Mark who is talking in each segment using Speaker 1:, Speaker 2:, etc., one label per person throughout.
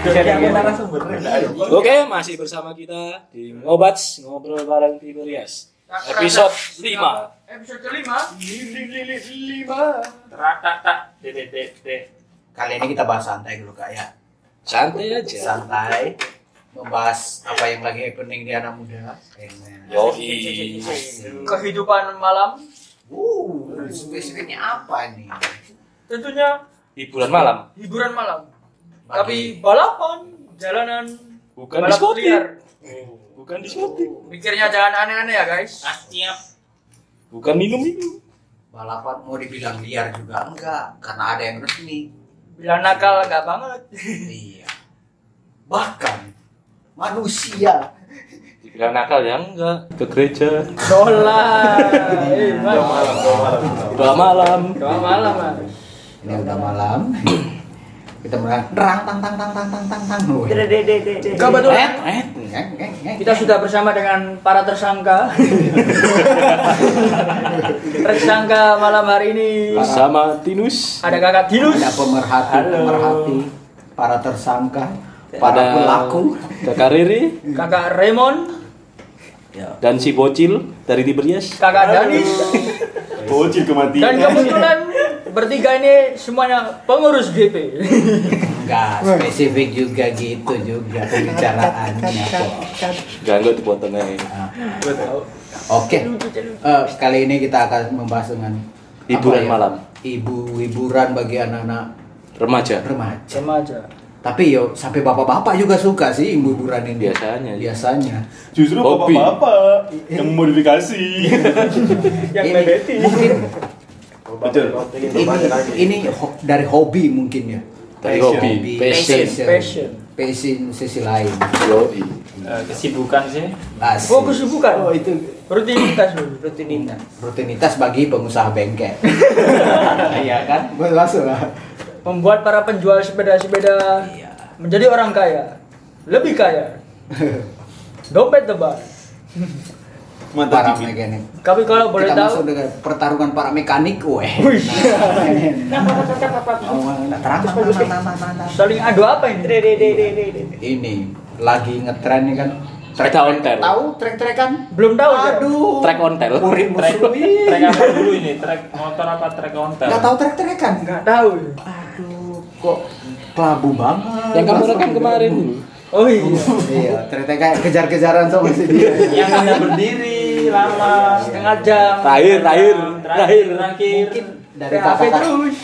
Speaker 1: Sharing ya.
Speaker 2: Oke, masih bersama kita di Ngobats Ngobrol Bareng Tipe Rias. Episode 5.
Speaker 3: Episode kelima.
Speaker 4: Rata tak DDDD.
Speaker 1: Kali ini kita bahas santai dulu kak ya.
Speaker 2: Santai aja.
Speaker 1: Santai. Membahas apa yang lagi happening di anak muda. Kayaknya.
Speaker 2: Yoi.
Speaker 3: Kehidupan malam.
Speaker 1: Wuh, spesifiknya apa nih?
Speaker 3: Tentunya
Speaker 2: Hiburan malam,
Speaker 3: hiburan malam.
Speaker 1: Bagi-
Speaker 3: Tapi balapan, jalanan,
Speaker 2: bukan
Speaker 3: balap liar.
Speaker 2: diskotik, bukan diskotik,
Speaker 3: Mikirnya jangan aneh-aneh ya guys.
Speaker 4: Siap.
Speaker 2: bukan minum-minum.
Speaker 1: balapan mau dibilang liar juga enggak, karena ada yang resmi.
Speaker 3: Bila nakal nggak banget.
Speaker 1: iya. Bahkan manusia
Speaker 2: Dibilang nakal ya enggak, ke gereja,
Speaker 3: Dolar.
Speaker 2: doa malam.
Speaker 3: Doa malam mas.
Speaker 1: ini udah malam. kita merang terang tang tang tang tang tang tang tang. Woy.
Speaker 3: Kebetulan
Speaker 2: Eh,
Speaker 1: Ngeng, ngeng, ngeng.
Speaker 3: kita sudah bersama dengan para tersangka. tersangka malam hari ini
Speaker 2: Bersama Tinus.
Speaker 3: ada kakak Dinus.
Speaker 1: ada pemerhati pemerhati para tersangka para
Speaker 2: Ada
Speaker 1: pelaku
Speaker 2: Kakak Riri
Speaker 3: kakak Raymond,
Speaker 2: dan si Bocil dari Tiberias.
Speaker 3: kakak Danis,
Speaker 2: Bocil
Speaker 3: dan
Speaker 2: kematian.
Speaker 3: kebetulan bertiga ini semuanya pengurus GP.
Speaker 1: enggak spesifik juga gitu juga pembicaraannya kok.
Speaker 2: Ganggu tuh potongannya.
Speaker 1: oke eh, kali ini kita akan membahas dengan apa
Speaker 2: Hiburan malam.
Speaker 1: ibu hiburan bagi anak-anak
Speaker 2: Remaja.
Speaker 1: remaja
Speaker 3: Remaja.
Speaker 1: tapi yo sampai bapak-bapak juga suka sih ibu hiburan ini
Speaker 2: Biasanya.
Speaker 1: biasanya
Speaker 5: Justru
Speaker 2: Hobi.
Speaker 5: bapak-bapak yang memodifikasi.
Speaker 3: Yang
Speaker 1: Ini
Speaker 3: medeti.
Speaker 1: mungkin
Speaker 5: Betul.
Speaker 1: ini ini ho- dari hobi mungkin ya
Speaker 2: Dari
Speaker 5: Passion.
Speaker 2: hobi, passion.
Speaker 3: Passion.
Speaker 1: passion sisi lain
Speaker 2: Yoi.
Speaker 4: Eh, Kesibukan sih.
Speaker 1: Asik.
Speaker 3: Oh kesibukan.
Speaker 1: Oh, itu
Speaker 3: Rutinitas dulu. Rutinitas.
Speaker 1: rutinitas bagi pengusaha bengkel. iya kan? Boleh langsung lah.
Speaker 3: Membuat para penjual sepeda-sepeda
Speaker 1: Iya.
Speaker 3: menjadi orang kaya, lebih kaya. Dompet tebal.
Speaker 5: Mantap
Speaker 1: Para
Speaker 5: TV.
Speaker 1: mekanik.
Speaker 3: Tapi kalau boleh
Speaker 1: Kita masuk
Speaker 3: tahu,
Speaker 1: dengan pertarungan para mekanik, weh. Nah,
Speaker 3: Wih.
Speaker 1: Oh, terang, terang, terang, terang, terang, terang.
Speaker 3: saling adu apa ini?
Speaker 1: Ini lagi ngetren nih kan.
Speaker 2: Sepeda ontel.
Speaker 1: Tahu trek-trekan?
Speaker 3: Belum tahu. Jar.
Speaker 1: Aduh.
Speaker 2: Trek ontel.
Speaker 1: Murid
Speaker 4: Trek,
Speaker 1: musuhi.
Speaker 4: trek apa dulu ini? Trek motor apa trek ontel?
Speaker 1: Enggak tahu trek-trekan.
Speaker 3: Nggak tahu.
Speaker 1: Aduh, kok kelabu banget.
Speaker 2: Yang kamu
Speaker 1: Langsung
Speaker 2: rekam kemarin.
Speaker 3: Oh iya.
Speaker 1: Iya, trek-trekan kejar-kejaran sama si dia.
Speaker 4: Yang hanya berdiri lama.
Speaker 3: Setengah jam.
Speaker 2: Terakhir, terakhir,
Speaker 4: Terakhir,
Speaker 2: terakhir.
Speaker 4: terakhir.
Speaker 1: mungkin dari
Speaker 3: PHP
Speaker 1: kakak
Speaker 3: terus.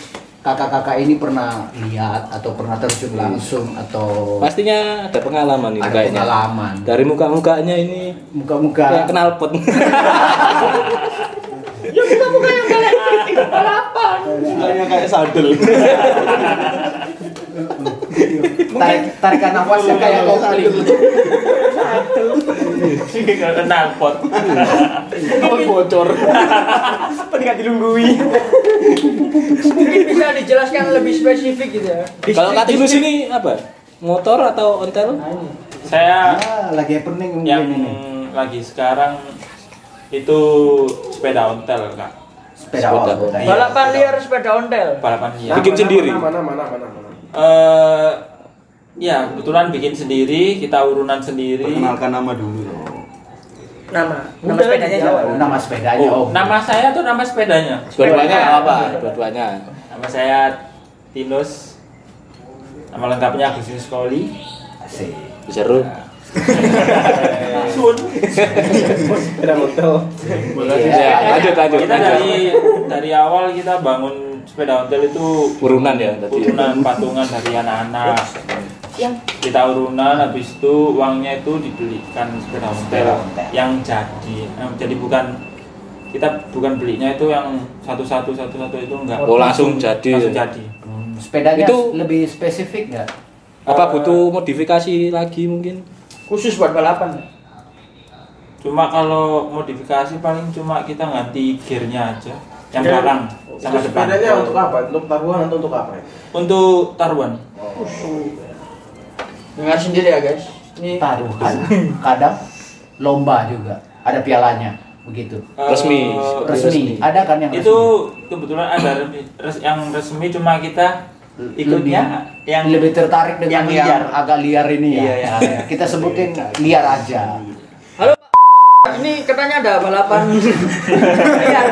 Speaker 1: kakak-kakak ini pernah lihat atau pernah terjun langsung atau
Speaker 2: Pastinya ada pengalaman ini
Speaker 1: Ada
Speaker 2: kayaknya.
Speaker 1: pengalaman.
Speaker 2: Dari muka-mukanya ini kayak
Speaker 1: muka-muka
Speaker 2: kenal pot.
Speaker 3: Ya,
Speaker 5: Mukanya kayak sadel.
Speaker 1: tarik tarikan nafasnya kayak gitu. kokling
Speaker 4: Nggak kenal pot.
Speaker 2: bocor.
Speaker 3: Mungkin bisa dijelaskan lebih spesifik gitu ya.
Speaker 2: Kalau Kak Tinus ini apa? Motor atau ontel?
Speaker 4: Saya
Speaker 1: ah, lagi happening mungkin
Speaker 4: yang
Speaker 1: ini
Speaker 4: lagi sekarang itu sepeda ontel kak.
Speaker 1: sepeda
Speaker 2: Sepeda.
Speaker 1: ontel
Speaker 3: Iya. Balapan liar sepeda ontel.
Speaker 4: Balapan liar.
Speaker 2: Bikin sendiri.
Speaker 4: Eh, ya kebetulan bikin sendiri, kita urunan sendiri.
Speaker 5: Perkenalkan nama dulu dong. nama
Speaker 3: Nama sepedanya siapa?
Speaker 1: Oh, nama sepedanya
Speaker 4: Oh,
Speaker 1: oh,
Speaker 4: nama saya tuh nama sepedanya.
Speaker 2: Dua-duanya nggak apa? Dua-duanya.
Speaker 4: Nama saya Tinus. Nama lengkapnya Agustinus Koli.
Speaker 1: Asik.
Speaker 2: Seru.
Speaker 4: Sun.
Speaker 1: Iya.
Speaker 2: Ya, lanjut lanjut.
Speaker 4: Kita
Speaker 2: lanjut.
Speaker 4: dari dari awal kita bangun sepeda ontel itu
Speaker 2: Urunan ya tadi. ya?
Speaker 4: urunan patungan dari anak-anak. Kita urunan habis itu uangnya itu dibelikan sepeda ontel yang jadi. Yang jadi bukan kita bukan belinya itu yang satu-satu satu-satu itu enggak.
Speaker 2: Oh, langsung jadi.
Speaker 4: Langsung jadi.
Speaker 1: Hmm, sepedanya
Speaker 2: Itu-
Speaker 1: lebih spesifik nggak
Speaker 2: Apa butuh modifikasi lagi mungkin?
Speaker 3: Khusus buat balapan.
Speaker 4: Cuma kalau modifikasi paling cuma kita ganti gearnya aja yang belakang sama depan.
Speaker 6: Sepedanya untuk apa? Untuk taruhan atau untuk apa? ya?
Speaker 4: Untuk taruhan.
Speaker 3: Dengar sendiri ya guys. Ini
Speaker 1: taruhan kadang lomba juga ada pialanya begitu
Speaker 4: Eh,
Speaker 2: Resmi.
Speaker 1: resmi ada kan yang
Speaker 4: Itu kebetulan ada resmi- res- yang resmi cuma kita ikutnya yang
Speaker 1: yang lebih tertarik dengan
Speaker 4: yang
Speaker 1: yang,
Speaker 4: liar.
Speaker 1: agak liar ini ya.
Speaker 4: Iya, iya, iya.
Speaker 1: Kita sebutin liar aja.
Speaker 7: Ini katanya ada balapan
Speaker 3: Iya.
Speaker 7: liar.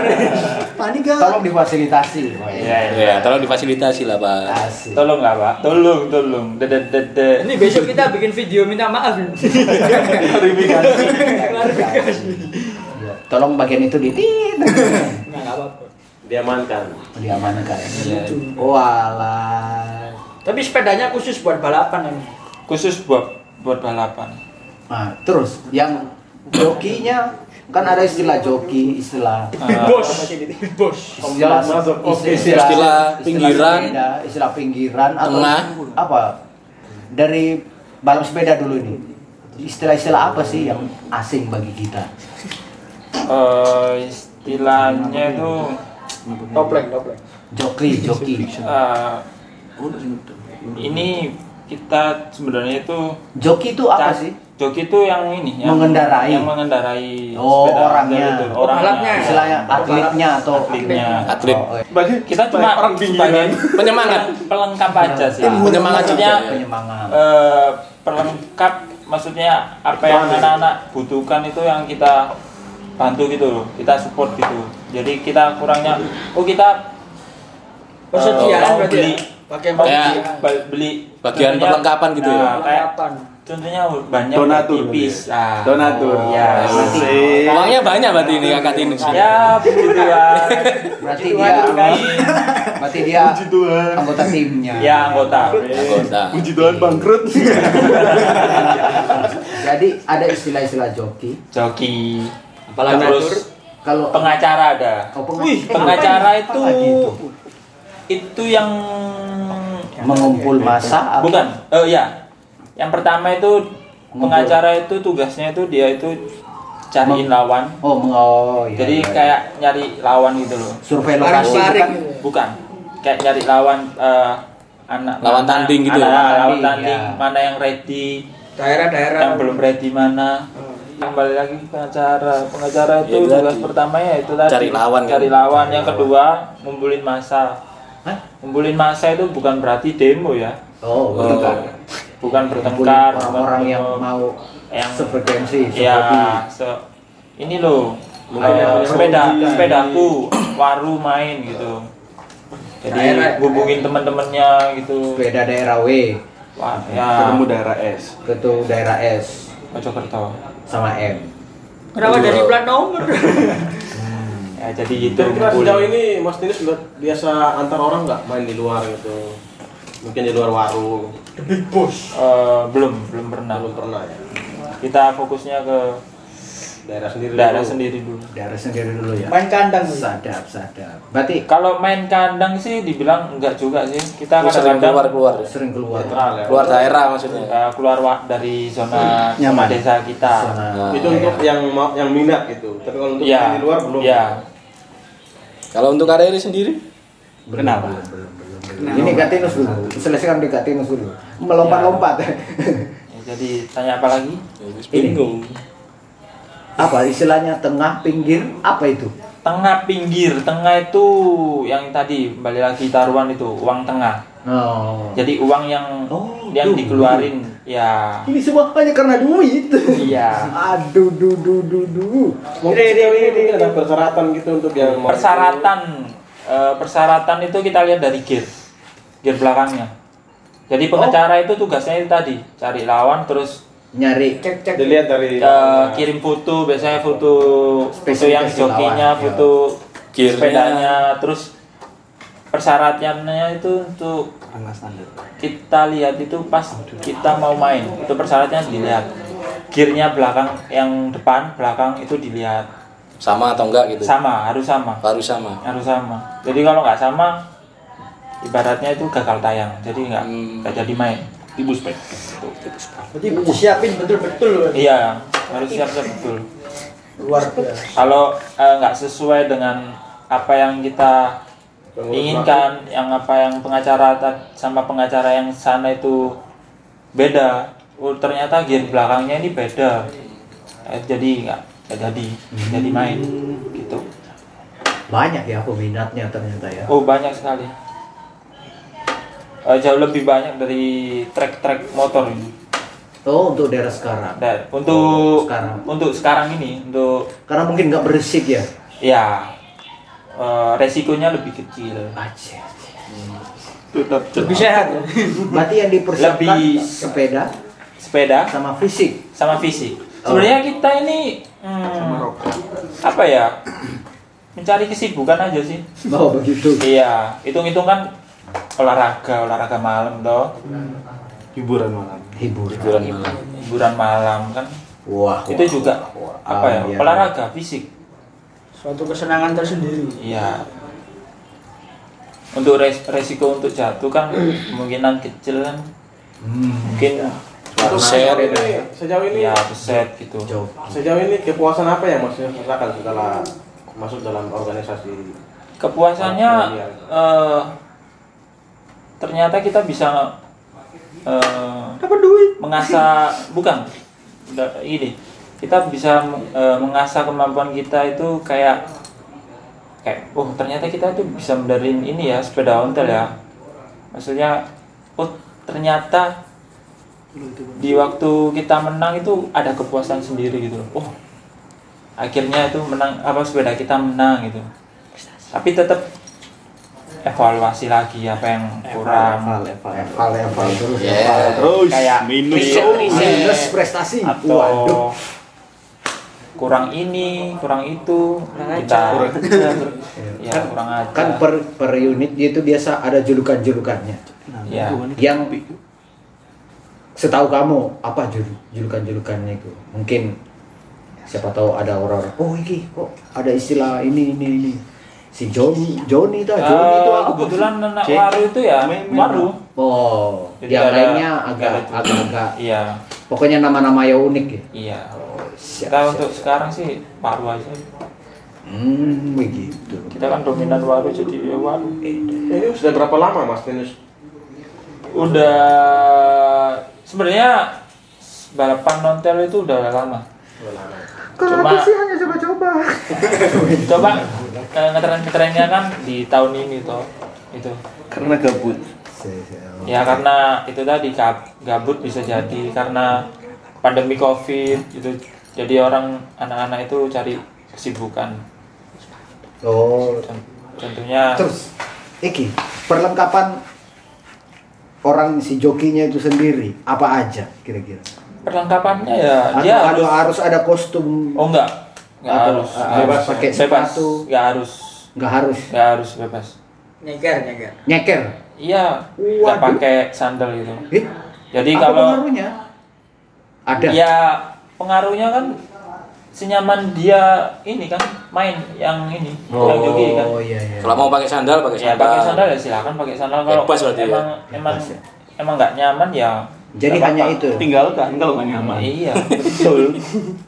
Speaker 1: Tolong difasilitasi. Pak.
Speaker 4: Iya, iya.
Speaker 2: Ya, tolong difasilitasi lah pak.
Speaker 1: Asik.
Speaker 4: Tolong lah pak, tolong, tolong. Dede, dede.
Speaker 7: Ini besok kita bikin video minta maaf.
Speaker 4: Klarifikasi.
Speaker 1: Iya. Tolong bagian itu di
Speaker 7: Nggak apa-apa.
Speaker 8: diamankan
Speaker 1: diamankan.
Speaker 4: Iya,
Speaker 1: Oh, Walah.
Speaker 7: Tapi sepedanya khusus buat balapan ini.
Speaker 4: Khusus buat buat balapan.
Speaker 1: Nah, terus yang jokinya kan ada istilah joki, istilah
Speaker 4: Eh,
Speaker 7: Bos. Bos.
Speaker 1: istilah
Speaker 8: masuk
Speaker 1: istilah,
Speaker 2: Istilah pinggiran.
Speaker 1: sepeda, istilah pinggiran atau
Speaker 2: Tengah.
Speaker 1: apa dari balap sepeda dulu ini istilah-istilah apa sih yang asing bagi kita
Speaker 4: eh, istilahnya itu
Speaker 7: Topleng, topleng.
Speaker 1: joki joki
Speaker 4: eh, ini kita sebenarnya itu
Speaker 1: joki itu apa
Speaker 4: Ca-
Speaker 1: sih
Speaker 4: Joki itu yang ini yang
Speaker 1: Mengendarai.
Speaker 4: yang mengendarai
Speaker 1: Oh,
Speaker 4: sepeda
Speaker 1: orangnya.
Speaker 4: motor
Speaker 1: Oh,
Speaker 4: itu,
Speaker 7: balapnya.
Speaker 4: orangnya. Iya.
Speaker 1: istilahnya atletnya atau
Speaker 4: Atletnya.
Speaker 2: Atlet.
Speaker 1: Oh, eh,
Speaker 8: bagi
Speaker 4: Kita cuma
Speaker 8: orang
Speaker 4: sebagai
Speaker 8: pinggiran
Speaker 2: Penyemangat.
Speaker 4: pelengkap aja sih.
Speaker 2: Tim Penyemangat
Speaker 4: Maksudnya,
Speaker 2: juga ya.
Speaker 1: penyemangat
Speaker 4: eh, pelengkap maksudnya apa yang anak-anak butuhkan itu yang kita bantu gitu loh. Kita support gitu. Jadi kita kurangnya oh kita
Speaker 7: Persediaan
Speaker 4: Mau
Speaker 7: berarti.
Speaker 4: beli.
Speaker 7: ya? Pakai
Speaker 4: mau
Speaker 2: Ya.
Speaker 4: beli,
Speaker 7: persediaan.
Speaker 4: ba- beli
Speaker 2: Bagian
Speaker 4: contohnya-
Speaker 2: perlengkapan gitu ya?
Speaker 4: Nah, kayak
Speaker 7: Balapan.
Speaker 4: contohnya banyak
Speaker 8: donatur
Speaker 4: tipis. Ah.
Speaker 8: donatur
Speaker 4: Iya.
Speaker 8: Asik.
Speaker 2: Uangnya banyak berarti ini kakak ini.
Speaker 4: Ya, puji Tuhan.
Speaker 1: berarti
Speaker 4: Puji
Speaker 1: dia
Speaker 4: Tuhan,
Speaker 1: berarti dia
Speaker 8: Puji Tuhan.
Speaker 1: anggota timnya
Speaker 4: Ya, anggota.
Speaker 2: Anggota.
Speaker 8: puji Tuhan bangkrut
Speaker 1: jadi ada istilah-istilah joki
Speaker 4: Joki.
Speaker 2: Apalagi
Speaker 4: Terus
Speaker 2: Tur?
Speaker 1: kalau
Speaker 4: pengacara ada.
Speaker 1: Oh, peng-
Speaker 4: Wih,
Speaker 1: eh,
Speaker 4: pengacara
Speaker 1: apa
Speaker 4: itu
Speaker 1: lagi itu?
Speaker 4: itu yang
Speaker 1: mengumpul massa apa?
Speaker 4: bukan. Oh iya. Yang pertama itu pengacara itu tugasnya itu dia itu cariin lawan.
Speaker 1: Oh, meng- oh, iya,
Speaker 4: Jadi
Speaker 1: iya.
Speaker 4: kayak nyari lawan gitu loh.
Speaker 1: survei
Speaker 7: Harus
Speaker 1: lokasi
Speaker 7: baring.
Speaker 1: itu kan-
Speaker 4: Bukan. Kayak nyari lawan eh, anak
Speaker 2: Lawan
Speaker 4: mana-
Speaker 2: tanding gitu ya?
Speaker 4: anak-
Speaker 1: Lawan
Speaker 4: lawan
Speaker 1: tanding,
Speaker 4: tanding
Speaker 1: ya.
Speaker 4: mana yang ready
Speaker 7: Daerah-daerah.
Speaker 4: yang belum ready mana kembali lagi ke pengacara pengacara
Speaker 2: Ya,
Speaker 4: itu
Speaker 2: itu
Speaker 4: tugas
Speaker 2: tadi.
Speaker 4: pertama ya itu tadi
Speaker 2: Cari lawan, kan?
Speaker 4: cari lawan yang kedua ngumpulin masa
Speaker 1: Hah?
Speaker 4: ngumpulin masa itu bukan berarti demo ya
Speaker 1: kan? oh, bukan.
Speaker 4: bukan
Speaker 1: Kumpulin
Speaker 4: bertengkar bukan
Speaker 1: Iya, orang-orang yang
Speaker 4: demo.
Speaker 1: mau
Speaker 4: Yang-
Speaker 1: sefrekuensi
Speaker 4: ya
Speaker 1: seperti
Speaker 4: se- ini loh
Speaker 8: Mungkin
Speaker 4: eh,
Speaker 8: yang punya
Speaker 4: sepeda
Speaker 8: hobi.
Speaker 4: sepedaku waru main gitu
Speaker 7: Daerah.
Speaker 4: jadi hubungin temen-temennya gitu
Speaker 1: sepeda daerah W
Speaker 4: Wah, ya
Speaker 8: ketemu daerah S
Speaker 1: ke tuh daerah S
Speaker 4: Mojokerto
Speaker 1: sama M
Speaker 7: Kenapa dari plat nomor?
Speaker 4: ya jadi itu
Speaker 8: Dan kita sejauh ini Mas Tini sudah biasa antar orang nggak main di luar gitu mungkin di luar warung
Speaker 4: Eh, belum belum pernah
Speaker 8: belum pernah ya
Speaker 4: kita fokusnya ke
Speaker 8: daerah sendiri
Speaker 4: daerah
Speaker 8: dulu.
Speaker 4: sendiri dulu
Speaker 1: daerah sendiri dulu ya
Speaker 7: Main kandang.
Speaker 1: sadap sadap berarti
Speaker 4: kalau main kandang sih dibilang enggak juga sih kita
Speaker 2: Sering
Speaker 4: kadang-kadang
Speaker 2: keluar keluar.
Speaker 1: sering keluar
Speaker 8: netral ya
Speaker 2: Keluar daerah maksudnya.
Speaker 4: eh, keluar wa- dari zona
Speaker 1: Nyaman. Iya,
Speaker 4: zona desa kita
Speaker 1: Zona
Speaker 8: itu
Speaker 4: Iya.
Speaker 8: untuk yang mau- yang minat gitu tapi kalau untuk
Speaker 4: ya
Speaker 8: yang di luar belum
Speaker 4: ya
Speaker 2: Kalau untuk karya ini sendiri,
Speaker 1: Belum,
Speaker 4: Kenapa?
Speaker 1: belum, belum, belum, belum. ini Gatinus dulu selesaikan di Gatinus dulu melompat-lompat
Speaker 4: Ya, jadi tanya apa lagi
Speaker 2: Ya, wis bingung.
Speaker 1: apa istilahnya tengah pinggir apa itu
Speaker 4: tengah pinggir tengah itu yang tadi kembali lagi taruhan itu uang tengah
Speaker 1: oh
Speaker 4: jadi uang yang
Speaker 1: Oh, duh.
Speaker 4: yang dikeluarin ya
Speaker 1: ini semua hanya karena duit
Speaker 4: iya
Speaker 1: aduh du du du du
Speaker 8: mungkin sejauh ini mungkin ada persyaratan gitu untuk yang mau-
Speaker 4: persyaratan eh, persyaratan itu kita lihat dari gear gear belakangnya
Speaker 1: Oh.
Speaker 4: jadi pengacara itu tugasnya itu tadi cari lawan terus
Speaker 1: nyari
Speaker 7: Cek-cek.
Speaker 8: dilihat dari
Speaker 2: Iya.
Speaker 4: eh, kirim foto biasanya foto foto yang
Speaker 1: Spesifikasi
Speaker 4: jokinya
Speaker 1: lawan,
Speaker 4: foto
Speaker 2: Iya. Gearnya.
Speaker 4: sepedanya terus persyaratannya itu untuk kita lihat itu pas kita mau main itu persyaratannya dilihat gearnya belakang yang depan belakang itu dilihat
Speaker 2: sama atau enggak gitu?
Speaker 4: sama harus sama
Speaker 2: Harus sama.
Speaker 4: harus sama jadi kalau nggak sama ibaratnya itu gagal tayang jadi nggak
Speaker 2: Hmm.
Speaker 4: nggak jadi main
Speaker 8: ibu spek
Speaker 7: Jadi disiapin betul-betul.
Speaker 4: iya harus siap siap betul
Speaker 7: Luar biasa.
Speaker 4: kalau eh, nggak sesuai dengan apa yang kita inginkan yang apa yang pengacara ta- sama pengacara yang sana itu beda oh ternyata gear belakangnya ini beda Eh, jadi nggak nggak jadi nggak jadi main gitu
Speaker 1: banyak ya peminatnya ternyata ya
Speaker 4: oh banyak sekali eh, jauh lebih banyak dari trek-trek motor ini.
Speaker 1: Oh, untuk daerah sekarang.
Speaker 4: Nah,
Speaker 7: Oh,
Speaker 4: untuk
Speaker 1: Sekarang.
Speaker 4: untuk sekarang ini untuk
Speaker 1: Karena mungkin nggak berisik ya.
Speaker 4: ya eh, resikonya lebih kecil.
Speaker 1: Aceh.
Speaker 4: Tetap
Speaker 7: lebih sehat ya.
Speaker 1: Berarti yang dipersiapkan
Speaker 4: Lebih-
Speaker 1: sepeda
Speaker 4: sepeda
Speaker 1: sama fisik.
Speaker 4: sama fisik.
Speaker 1: Oh.
Speaker 4: Sebenarnya kita ini hmm, apa ya? Mencari kesibukan aja sih.
Speaker 1: Oh, begitu.
Speaker 4: Iya, hitung-hitung kan olahraga, olahraga malam toh,
Speaker 8: hiburan malam
Speaker 1: Hiburan.
Speaker 4: hiburan malam kan.
Speaker 1: Wah,
Speaker 4: Itu
Speaker 1: wah,
Speaker 4: juga
Speaker 1: wah, wah.
Speaker 4: apa ya?
Speaker 1: Ah, iya.
Speaker 4: Olahraga fisik.
Speaker 7: Suatu kesenangan tersendiri.
Speaker 4: Iya. Untuk res- resiko untuk jatuh kan kemungkinan kecil kan.
Speaker 1: Hmm.
Speaker 4: Mungkin
Speaker 8: Untuk
Speaker 2: Share
Speaker 8: sejauh
Speaker 2: itu.
Speaker 8: ini, sejauh ini
Speaker 4: ya peset gitu.
Speaker 1: Jauh.
Speaker 8: sejauh ini kepuasan apa ya, yang maksudnya rasakan setelah masuk dalam organisasi
Speaker 4: Kepuasannya eh, ternyata kita bisa eh,
Speaker 7: Dapat duit.
Speaker 4: mengasah bukan da- ini kita bisa eh, mengasah kemampuan kita itu kayak kayak oh ternyata kita tuh bisa mendarin ini ya sepeda ontel ya maksudnya oh ternyata di waktu kita menang itu ada kepuasan sendiri gitu loh oh akhirnya itu menang apa sepeda kita menang gitu tapi tetap evaluasi lagi apa yang kurang
Speaker 1: Level, level, level, level terus. level.
Speaker 4: Iya.
Speaker 2: Iya.
Speaker 9: Oh,
Speaker 8: terus
Speaker 9: iya.
Speaker 4: kayak
Speaker 2: Riset, riset.
Speaker 1: Minus prestasi.
Speaker 4: atau
Speaker 1: Waduh.
Speaker 4: kurang ini kurang itu kita kurang ya kurang aja
Speaker 1: Kan per per unit dia itu biasa ada julukan-julukannya.
Speaker 4: ya
Speaker 1: kan. Yang setahu kamu apa jul- julukan-julukannya itu? Mungkin siapa tahu ada orang oh ini kok ada istilah ini ini ini si Joni Joni dah Joni itu
Speaker 4: Eh,
Speaker 1: apa?
Speaker 4: kebetulan anak
Speaker 1: Cek.
Speaker 4: waru itu ya waru
Speaker 1: Oh,
Speaker 4: Jadi
Speaker 1: yang
Speaker 4: ada-
Speaker 1: lainnya
Speaker 4: ada
Speaker 1: agak
Speaker 4: itu.
Speaker 1: agak agak
Speaker 4: iya
Speaker 1: pokoknya nama-nama yang unik ya.
Speaker 4: iya
Speaker 1: Oh, siap,
Speaker 4: kita
Speaker 1: siap,
Speaker 4: untuk
Speaker 1: siap.
Speaker 4: sekarang sih waru aja
Speaker 1: Hmm, begitu.
Speaker 4: kita kan dominan waru jadi ya waru
Speaker 8: ini sudah berapa lama mas Tinus
Speaker 4: udah sebenarnya balapan nontel itu udah lama cuma
Speaker 7: hanya coba-coba.
Speaker 4: coba eh, ngetren-ngetrennya kan di tahun ini toh itu
Speaker 9: Karena gabut.
Speaker 4: Ya karena itu tadi gab- gabut bisa jadi karena pandemi covid itu jadi orang anak-anak itu cari kesibukan
Speaker 1: Oh,
Speaker 4: Con- contohnya
Speaker 1: terus Iki, perlengkapan orang si jokinya itu sendiri apa aja kira-kira?
Speaker 4: perlengkapannya ya
Speaker 1: Atau
Speaker 4: dia
Speaker 1: ada-
Speaker 4: harus
Speaker 1: harus ada kostum
Speaker 4: oh enggak enggak
Speaker 1: Atau,
Speaker 4: harus
Speaker 1: ah,
Speaker 4: nggak
Speaker 1: bebas
Speaker 4: harus.
Speaker 1: pakai
Speaker 4: bebas
Speaker 1: sepatu.
Speaker 4: enggak harus
Speaker 1: nggak harus
Speaker 4: enggak harus bebas
Speaker 7: Nyeker, nyeker.
Speaker 1: nyeker.
Speaker 4: iya enggak
Speaker 1: Waduh.
Speaker 4: pakai sandal gitu
Speaker 1: Eh,
Speaker 4: jadi
Speaker 1: apa
Speaker 4: kalau
Speaker 1: pengaruhnya? Ada.
Speaker 4: ya pengaruhnya kan senyaman dia ini kan main yang ini yang joki kan
Speaker 1: Oh, iya iya.
Speaker 2: Kalau mau pakai sandal, pakai sandal.
Speaker 4: Ya pakai sandal ya silakan pakai sandal kalau
Speaker 2: Bebas berarti ya?
Speaker 4: emang emang
Speaker 1: Bebas ya.
Speaker 4: emang nggak nyaman ya.
Speaker 1: Jadi
Speaker 4: nggak
Speaker 1: hanya
Speaker 4: apa-apa.
Speaker 1: itu.
Speaker 8: kan,
Speaker 9: Tinggalkan kalau nggak nyaman.
Speaker 4: Iya betul.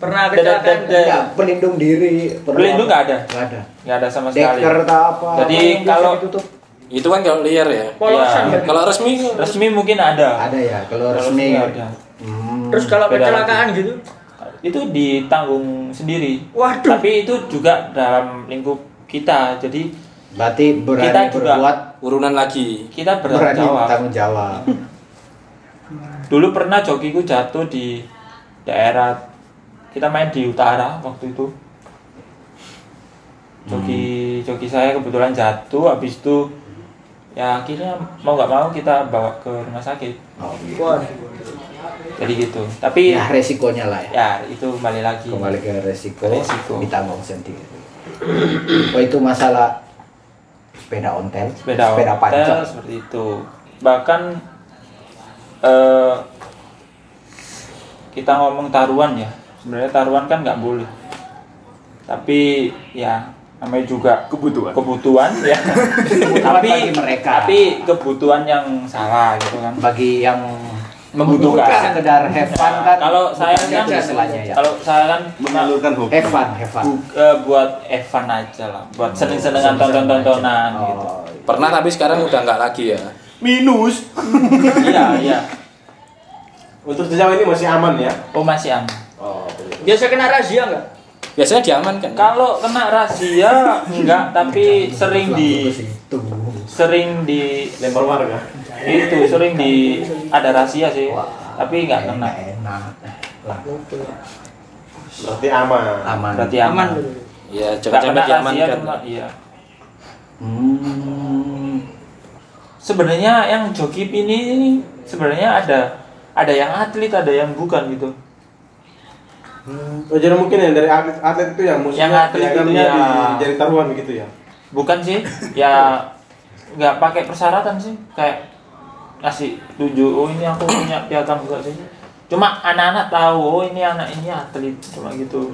Speaker 7: Pernah
Speaker 4: Dan- dan-
Speaker 7: kecelakaan.
Speaker 4: dan-
Speaker 1: Nggak, pelindung diri. perlu
Speaker 4: Pelindung
Speaker 1: apa?
Speaker 4: nggak ada?
Speaker 1: Nggak ada.
Speaker 4: Nggak ada sama sekali.
Speaker 1: Deker tak apa?
Speaker 4: Jadi
Speaker 1: apa yang biasa
Speaker 4: kalau-
Speaker 1: ditutup?
Speaker 2: Itu kan kalau liar ya.
Speaker 7: Polosan ya.
Speaker 4: Ya.
Speaker 2: Kalau resmi
Speaker 4: Resmi mungkin ada.
Speaker 1: ada ya kalau
Speaker 4: Kalau
Speaker 1: resmi.
Speaker 4: nggak ada.
Speaker 1: Hmm.
Speaker 7: Terus kalau
Speaker 4: Beda
Speaker 7: kecelakaan gitu,
Speaker 4: Itu ditanggung sendiri.
Speaker 7: Waduh.
Speaker 4: Tapi itu juga dalam lingkup kita. Jadi
Speaker 1: berarti berani
Speaker 4: Kita juga
Speaker 1: berbuat
Speaker 2: urunan lagi.
Speaker 4: kita bertanggung
Speaker 1: berani
Speaker 4: jawab.
Speaker 1: tanggung jawab.
Speaker 4: Dulu pernah jokiku jatuh di daerah kita main di utara waktu itu.
Speaker 1: Hmm.
Speaker 4: Joki joki saya kebetulan jatuh habis itu ya akhirnya mau nggak mau kita bawa ke rumah sakit.
Speaker 1: Oh, iya.
Speaker 7: wah,
Speaker 4: Jadi gitu. Tapi
Speaker 1: ya
Speaker 4: ya,
Speaker 1: resikonya lah ya.
Speaker 4: itu kembali lagi.
Speaker 1: Kembali ke resiko,
Speaker 4: Resiko.
Speaker 1: ditanggung sendiri. Oh itu masalah sepeda ontel,
Speaker 4: Sepeda ontel,
Speaker 1: pancak.
Speaker 4: seperti itu. Bahkan eh, kita ngomong taruhan ya. Sebenarnya taruhan kan nggak boleh. Tapi ya namanya juga
Speaker 9: Kebutuhan.
Speaker 4: kebutuhan ya tapi
Speaker 1: bagi mereka.
Speaker 4: tapi kebutuhan yang salah gitu kan
Speaker 1: Bagi yang
Speaker 4: membutuhkan
Speaker 1: sekedar have fun kan.
Speaker 4: Nah, kalau saya
Speaker 1: bukan
Speaker 4: kan
Speaker 1: itu istilahnya ya.
Speaker 4: kalau saya kan
Speaker 9: Menyalurkan hobi.
Speaker 1: have fun, have fun.
Speaker 4: bu- eh, buat Evan aja lah buat seneng-senengan tonton-tontonan
Speaker 1: Oh,
Speaker 4: gitu
Speaker 2: Pernah tapi sekarang udah nggak lagi ya.
Speaker 9: Minus.
Speaker 4: iya iya
Speaker 8: untuk sejauh ini masih aman ya
Speaker 4: oh masih aman
Speaker 8: oh begitu.
Speaker 7: biasa kena razia nggak?
Speaker 2: Biasanya diamankan.
Speaker 4: kalau
Speaker 1: Iya,
Speaker 4: kena
Speaker 1: gitu
Speaker 4: razia enggak tapi sering di
Speaker 1: Itu.
Speaker 4: sering di
Speaker 8: lempar warga
Speaker 4: itu sering di ada rahasia sih tapi nggak kena
Speaker 1: enak lah
Speaker 8: Berarti aman.
Speaker 1: aman
Speaker 4: berarti aman
Speaker 2: Ya,
Speaker 4: nggak
Speaker 2: jangan
Speaker 4: kena
Speaker 2: sampai
Speaker 4: rahasia
Speaker 2: diamankan.
Speaker 4: cuma iya
Speaker 1: hmm.
Speaker 4: sebenarnya yang joki ini sebenarnya ada ada yang atlet ada yang bukan gitu
Speaker 8: Oh, jadi mungkin yang dari atlet, atlet itu yang musuhnya
Speaker 4: Yang atlet itu
Speaker 8: pelayanannya
Speaker 4: ya.
Speaker 8: di jari taruhan gitu ya.
Speaker 4: bukan sih ya nggak pakai persyaratan sih kayak ngasih tujuh oh ini aku punya piagam juga sih cuma anak-anak tahu oh ini anak ini atlet cuma gitu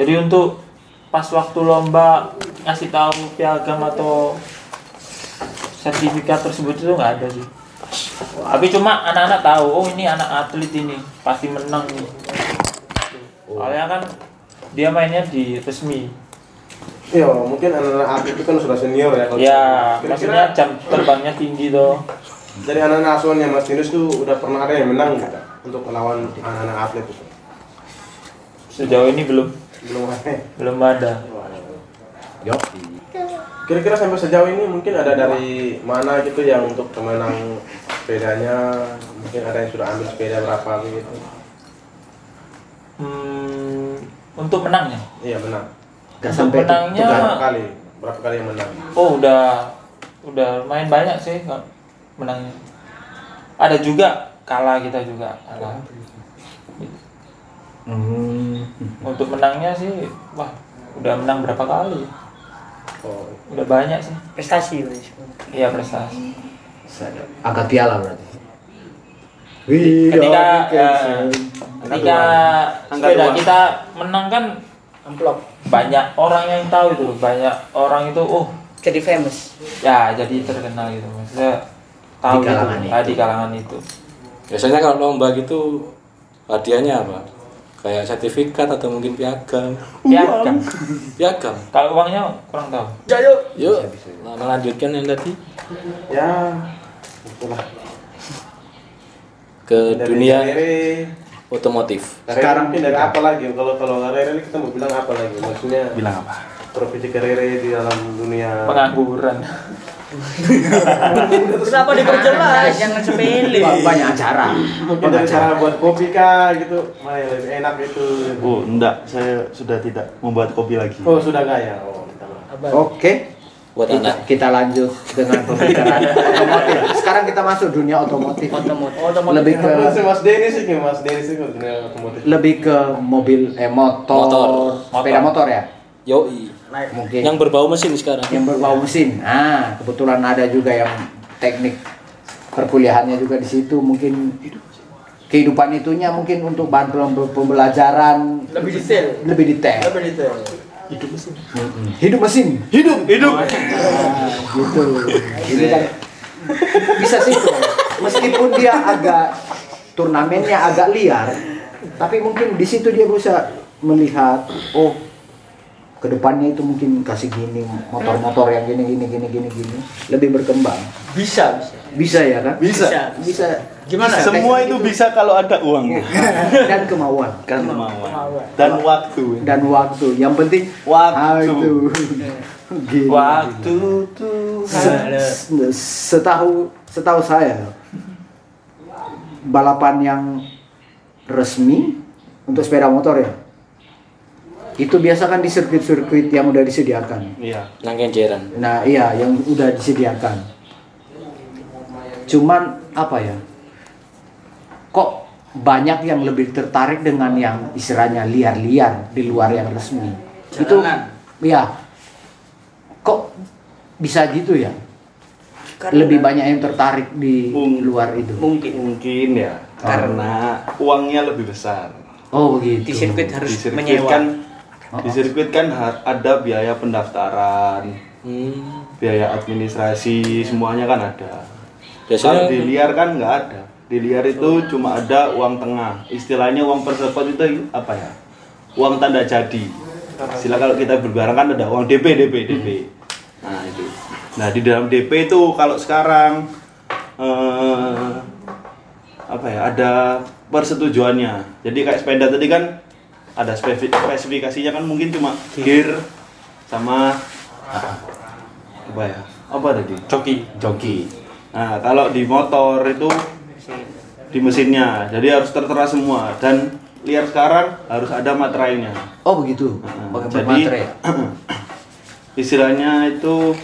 Speaker 4: jadi untuk pas waktu lomba ngasih tahu piagam atau sertifikat tersebut itu nggak ada sih tapi cuma anak-anak tahu oh ini anak atlet ini pasti menang nih soalnya kan dia mainnya di resmi
Speaker 8: Iya, mungkin anak-anak atlet itu kan sudah senior ya. kalau-
Speaker 4: Ya, maksudnya
Speaker 8: Kira-kira
Speaker 4: jam terbangnya tinggi tuh.
Speaker 8: dari anak-anak asuhannya Mas Tinus tuh udah pernah ada yang menang nggak untuk melawan anak-anak atlet itu?
Speaker 4: Sejauh ini belum
Speaker 8: Belum ada.
Speaker 4: belum ada.
Speaker 1: Yo.
Speaker 8: Kira-kira sampai sejauh ini mungkin ada dari mana gitu yang untuk pemenang sepedanya mungkin ada yang sudah ambil sepeda berapa gitu? begitu
Speaker 4: Hmm, untuk menangnya.
Speaker 8: iya menang
Speaker 1: Gak sampai itu-
Speaker 4: Menangnya-
Speaker 1: itu kan.
Speaker 8: berapa kali berapa kali yang menang
Speaker 4: Oh, udah udah main banyak sih kalau menangnya. Ada juga kalah kita juga kalah.
Speaker 1: Hmm.
Speaker 4: Untuk menangnya sih wah, udah menang berapa kali?
Speaker 8: oh
Speaker 4: Udah banyak sih.
Speaker 3: prestasi berarti sebenarnya.
Speaker 4: Iya prestasi.
Speaker 1: Sadar. Angkat piala berarti. We
Speaker 4: Ketika
Speaker 1: are
Speaker 4: eh,
Speaker 1: Dickinson.
Speaker 4: ketika
Speaker 9: Angkat
Speaker 4: sepeda
Speaker 9: dua.
Speaker 4: kita menang kan
Speaker 7: amplop
Speaker 4: banyak orang yang tahu itu banyak orang itu oh
Speaker 3: jadi famous
Speaker 4: ya jadi terkenal gitu maksudnya tahu
Speaker 1: Di kalangan
Speaker 4: gitu,
Speaker 1: itu.
Speaker 4: Ah, di kalangan itu
Speaker 10: Biasanya kalau lomba gitu hadiahnya apa? Kayak sertifikat atau mungkin piagam.
Speaker 4: piagam
Speaker 10: Piagam.
Speaker 4: Ya, kan. kalau uangnya kurang tahu
Speaker 7: jayo
Speaker 10: Yuk, nah, melanjutkan yang tadi
Speaker 8: ya itulah
Speaker 10: ke
Speaker 8: dari
Speaker 10: dunia
Speaker 8: dari,
Speaker 10: otomotif.
Speaker 8: sekarang mungkin dari apa lagi kalau kalau Rere kita mau bilang apa lagi maksudnya
Speaker 9: Bilang apa?
Speaker 8: profesi Rere di dalam dunia
Speaker 4: pengangguran
Speaker 7: kenapa
Speaker 3: Ah,
Speaker 7: diperjelas
Speaker 3: jangan sepele
Speaker 1: Ba- banyak acara.
Speaker 8: mungkin dari cara buat kopi kah gitu mana yang lebih enak itu
Speaker 9: Oh, enggak. Saya sudah tidak membuat kopi lagi.
Speaker 8: oh sudah gaya oh kita mah.
Speaker 7: abang
Speaker 1: Oke,
Speaker 10: Buat
Speaker 4: Iya.
Speaker 1: kita,
Speaker 10: anak.
Speaker 1: kita lanjut dengan pembicaraan otomotif. Sekarang kita masuk dunia otomotif.
Speaker 7: oh teman
Speaker 1: Lebih ke
Speaker 8: Kalau si Mas Denny sih kayak Mas Denny sih kalau dunia otomotif
Speaker 1: lebih ke mobil eh motor,
Speaker 10: Motor.
Speaker 1: sepeda motor ya.
Speaker 10: Yoi.
Speaker 4: Iya.
Speaker 1: Mungkin yang,
Speaker 10: Yang berbau mesin sekarang.
Speaker 1: berbau mesin. Nah, kebetulan ada juga yang teknik perkuliahannya juga di situ mungkin kehidupan itunya mungkin untuk bahan pem- pembelajaran
Speaker 7: lebih detail
Speaker 1: lebih detail.
Speaker 7: lebih detail
Speaker 1: Mm-mm. Hidup mesin.
Speaker 9: Hidup, hidup.
Speaker 1: Ah, gitu. Ini kan bisa sih tuh. Meskipun dia agak turnamennya agak liar, tapi mungkin di situ dia bisa melihat oh kedepannya itu mungkin kasih gini motor-motor yang gini gini gini gini gini lebih berkembang
Speaker 7: bisa bisa
Speaker 1: bisa ya kan
Speaker 9: Bisa.
Speaker 1: bisa
Speaker 7: Gimana?
Speaker 1: Bisa.
Speaker 9: Semua itu bisa kalau ada uang
Speaker 1: dan kemauan
Speaker 9: kan kemauan dan waktu.
Speaker 1: dan waktu yang penting Ah,
Speaker 9: Waktu.
Speaker 1: Gini.
Speaker 4: waktu
Speaker 1: Se- setahu setahu saya balapan yang resmi untuk sepeda motor ya itu biasa kan di sirkuit-sirkuit yang udah disediakan
Speaker 9: Iya.
Speaker 10: Nang kenjeran.
Speaker 1: nah iya yang udah disediakan cuman apa ya kok banyak yang lebih tertarik dengan yang istilahnya liar-liar di luar yang resmi itu ya kok bisa gitu ya
Speaker 3: Karena
Speaker 1: lebih banyak yang tertarik di
Speaker 9: Mung-
Speaker 1: luar itu.
Speaker 3: mungkin
Speaker 9: Mungkin ya karena uangnya lebih besar.
Speaker 1: Oh begitu.
Speaker 3: di sirkuit harus
Speaker 9: Di sirkuit
Speaker 3: menyewa
Speaker 9: kan di sirkuit kan ha- ada biaya pendaftaran,
Speaker 10: Hmm.
Speaker 9: biaya administrasi, semuanya kan ada. Kalau
Speaker 10: Biasanya
Speaker 9: di liar kan nggak ada. Di liar itu cuma ada uang tengah. Istilahnya uang persepot itu apa ya? Uang tanda jadi. Istilah kalau kita berbareng kan ada uang DP, DP, DP. Nah itu. Nah di dalam DP itu kalau sekarang eh, apa ya? Ada persetujuannya. Jadi kayak sepeda tadi kan ada spesifi- spesifikasinya kan mungkin cuma gear sama apa ya? Apa tadi?
Speaker 4: joki
Speaker 9: joki Nah, kalau di motor itu di mesinnya, jadi harus tertera semua dan liar sekarang harus ada materainya.
Speaker 1: Oh begitu.
Speaker 9: Nah,
Speaker 1: Pakai
Speaker 9: jadi
Speaker 1: baterai. ya?
Speaker 9: istilahnya itu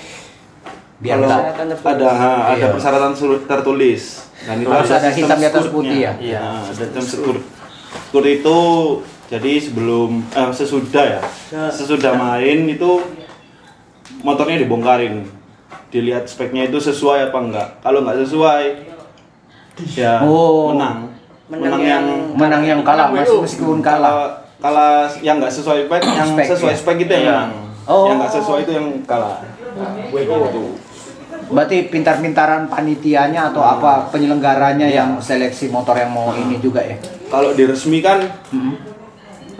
Speaker 1: Biar
Speaker 9: kalau
Speaker 1: tak-
Speaker 3: Persyaratan tertulis.
Speaker 9: ada ha, ada
Speaker 1: Iya.
Speaker 9: persyaratan sur- tertulis dan itu
Speaker 1: Terus ada
Speaker 9: sistem
Speaker 1: hitam di atas
Speaker 9: skurnya.
Speaker 1: putih ya?
Speaker 9: Iya, ada sistem skur. Skur itu jadi sebelum eh, sesudah ya. Sesudah main itu motornya dibongkarin. Dilihat speknya itu sesuai apa enggak. Kalau enggak sesuai ya
Speaker 1: Oh.
Speaker 9: menang.
Speaker 3: Menang yang-
Speaker 1: Menang yang kalah masih meskipun kalah.
Speaker 9: Kalau kalah yang nggak sesuai spek, yang
Speaker 1: Spek,
Speaker 9: sesuai
Speaker 1: ya?
Speaker 9: spek itu yang
Speaker 1: Iya.
Speaker 9: menang.
Speaker 1: Oh.
Speaker 9: Yang nggak sesuai itu yang kalah.
Speaker 1: Berarti pintar-pintaran panitianya atau apa penyelenggaranya yang seleksi motor yang mau ini juga ya?
Speaker 9: Kalau diresmikan
Speaker 1: Mm-hmm.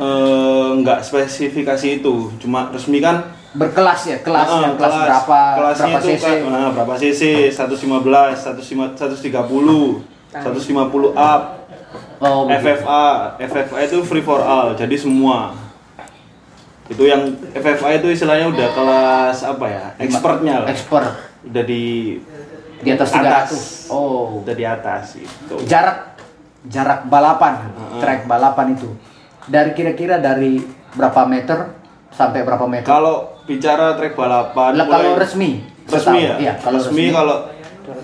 Speaker 9: eh, nggak spesifikasi itu, cuma resmikan
Speaker 1: Berkelas ya,
Speaker 9: eh,
Speaker 1: kelasnya, kelas, berapa, berapa
Speaker 9: kelasnya itu
Speaker 1: cc?
Speaker 9: kelas- nah, berapa cc, 115, 130, 150 up,
Speaker 1: Oh, begitu.
Speaker 9: FFA, FFA itu free for all, jadi semua. Itu yang FFA itu istilahnya udah kelas apa ya? Expertnya lah.
Speaker 1: Expert
Speaker 9: Udah di
Speaker 1: di atas
Speaker 9: Atas.
Speaker 1: 300. Oh.
Speaker 9: udah di atas gitu.
Speaker 1: Jarak jarak balapan,
Speaker 9: Heeh.
Speaker 1: track balapan itu. Dari kira-kira dari berapa meter sampai berapa meter?
Speaker 9: Kalau bicara trek balapan
Speaker 1: Lah,
Speaker 9: mulai-
Speaker 1: kalau resmi,
Speaker 9: resmi
Speaker 1: setahu.
Speaker 9: ya?
Speaker 1: Iya, kalau
Speaker 9: resmi,
Speaker 1: resmi.
Speaker 9: kalau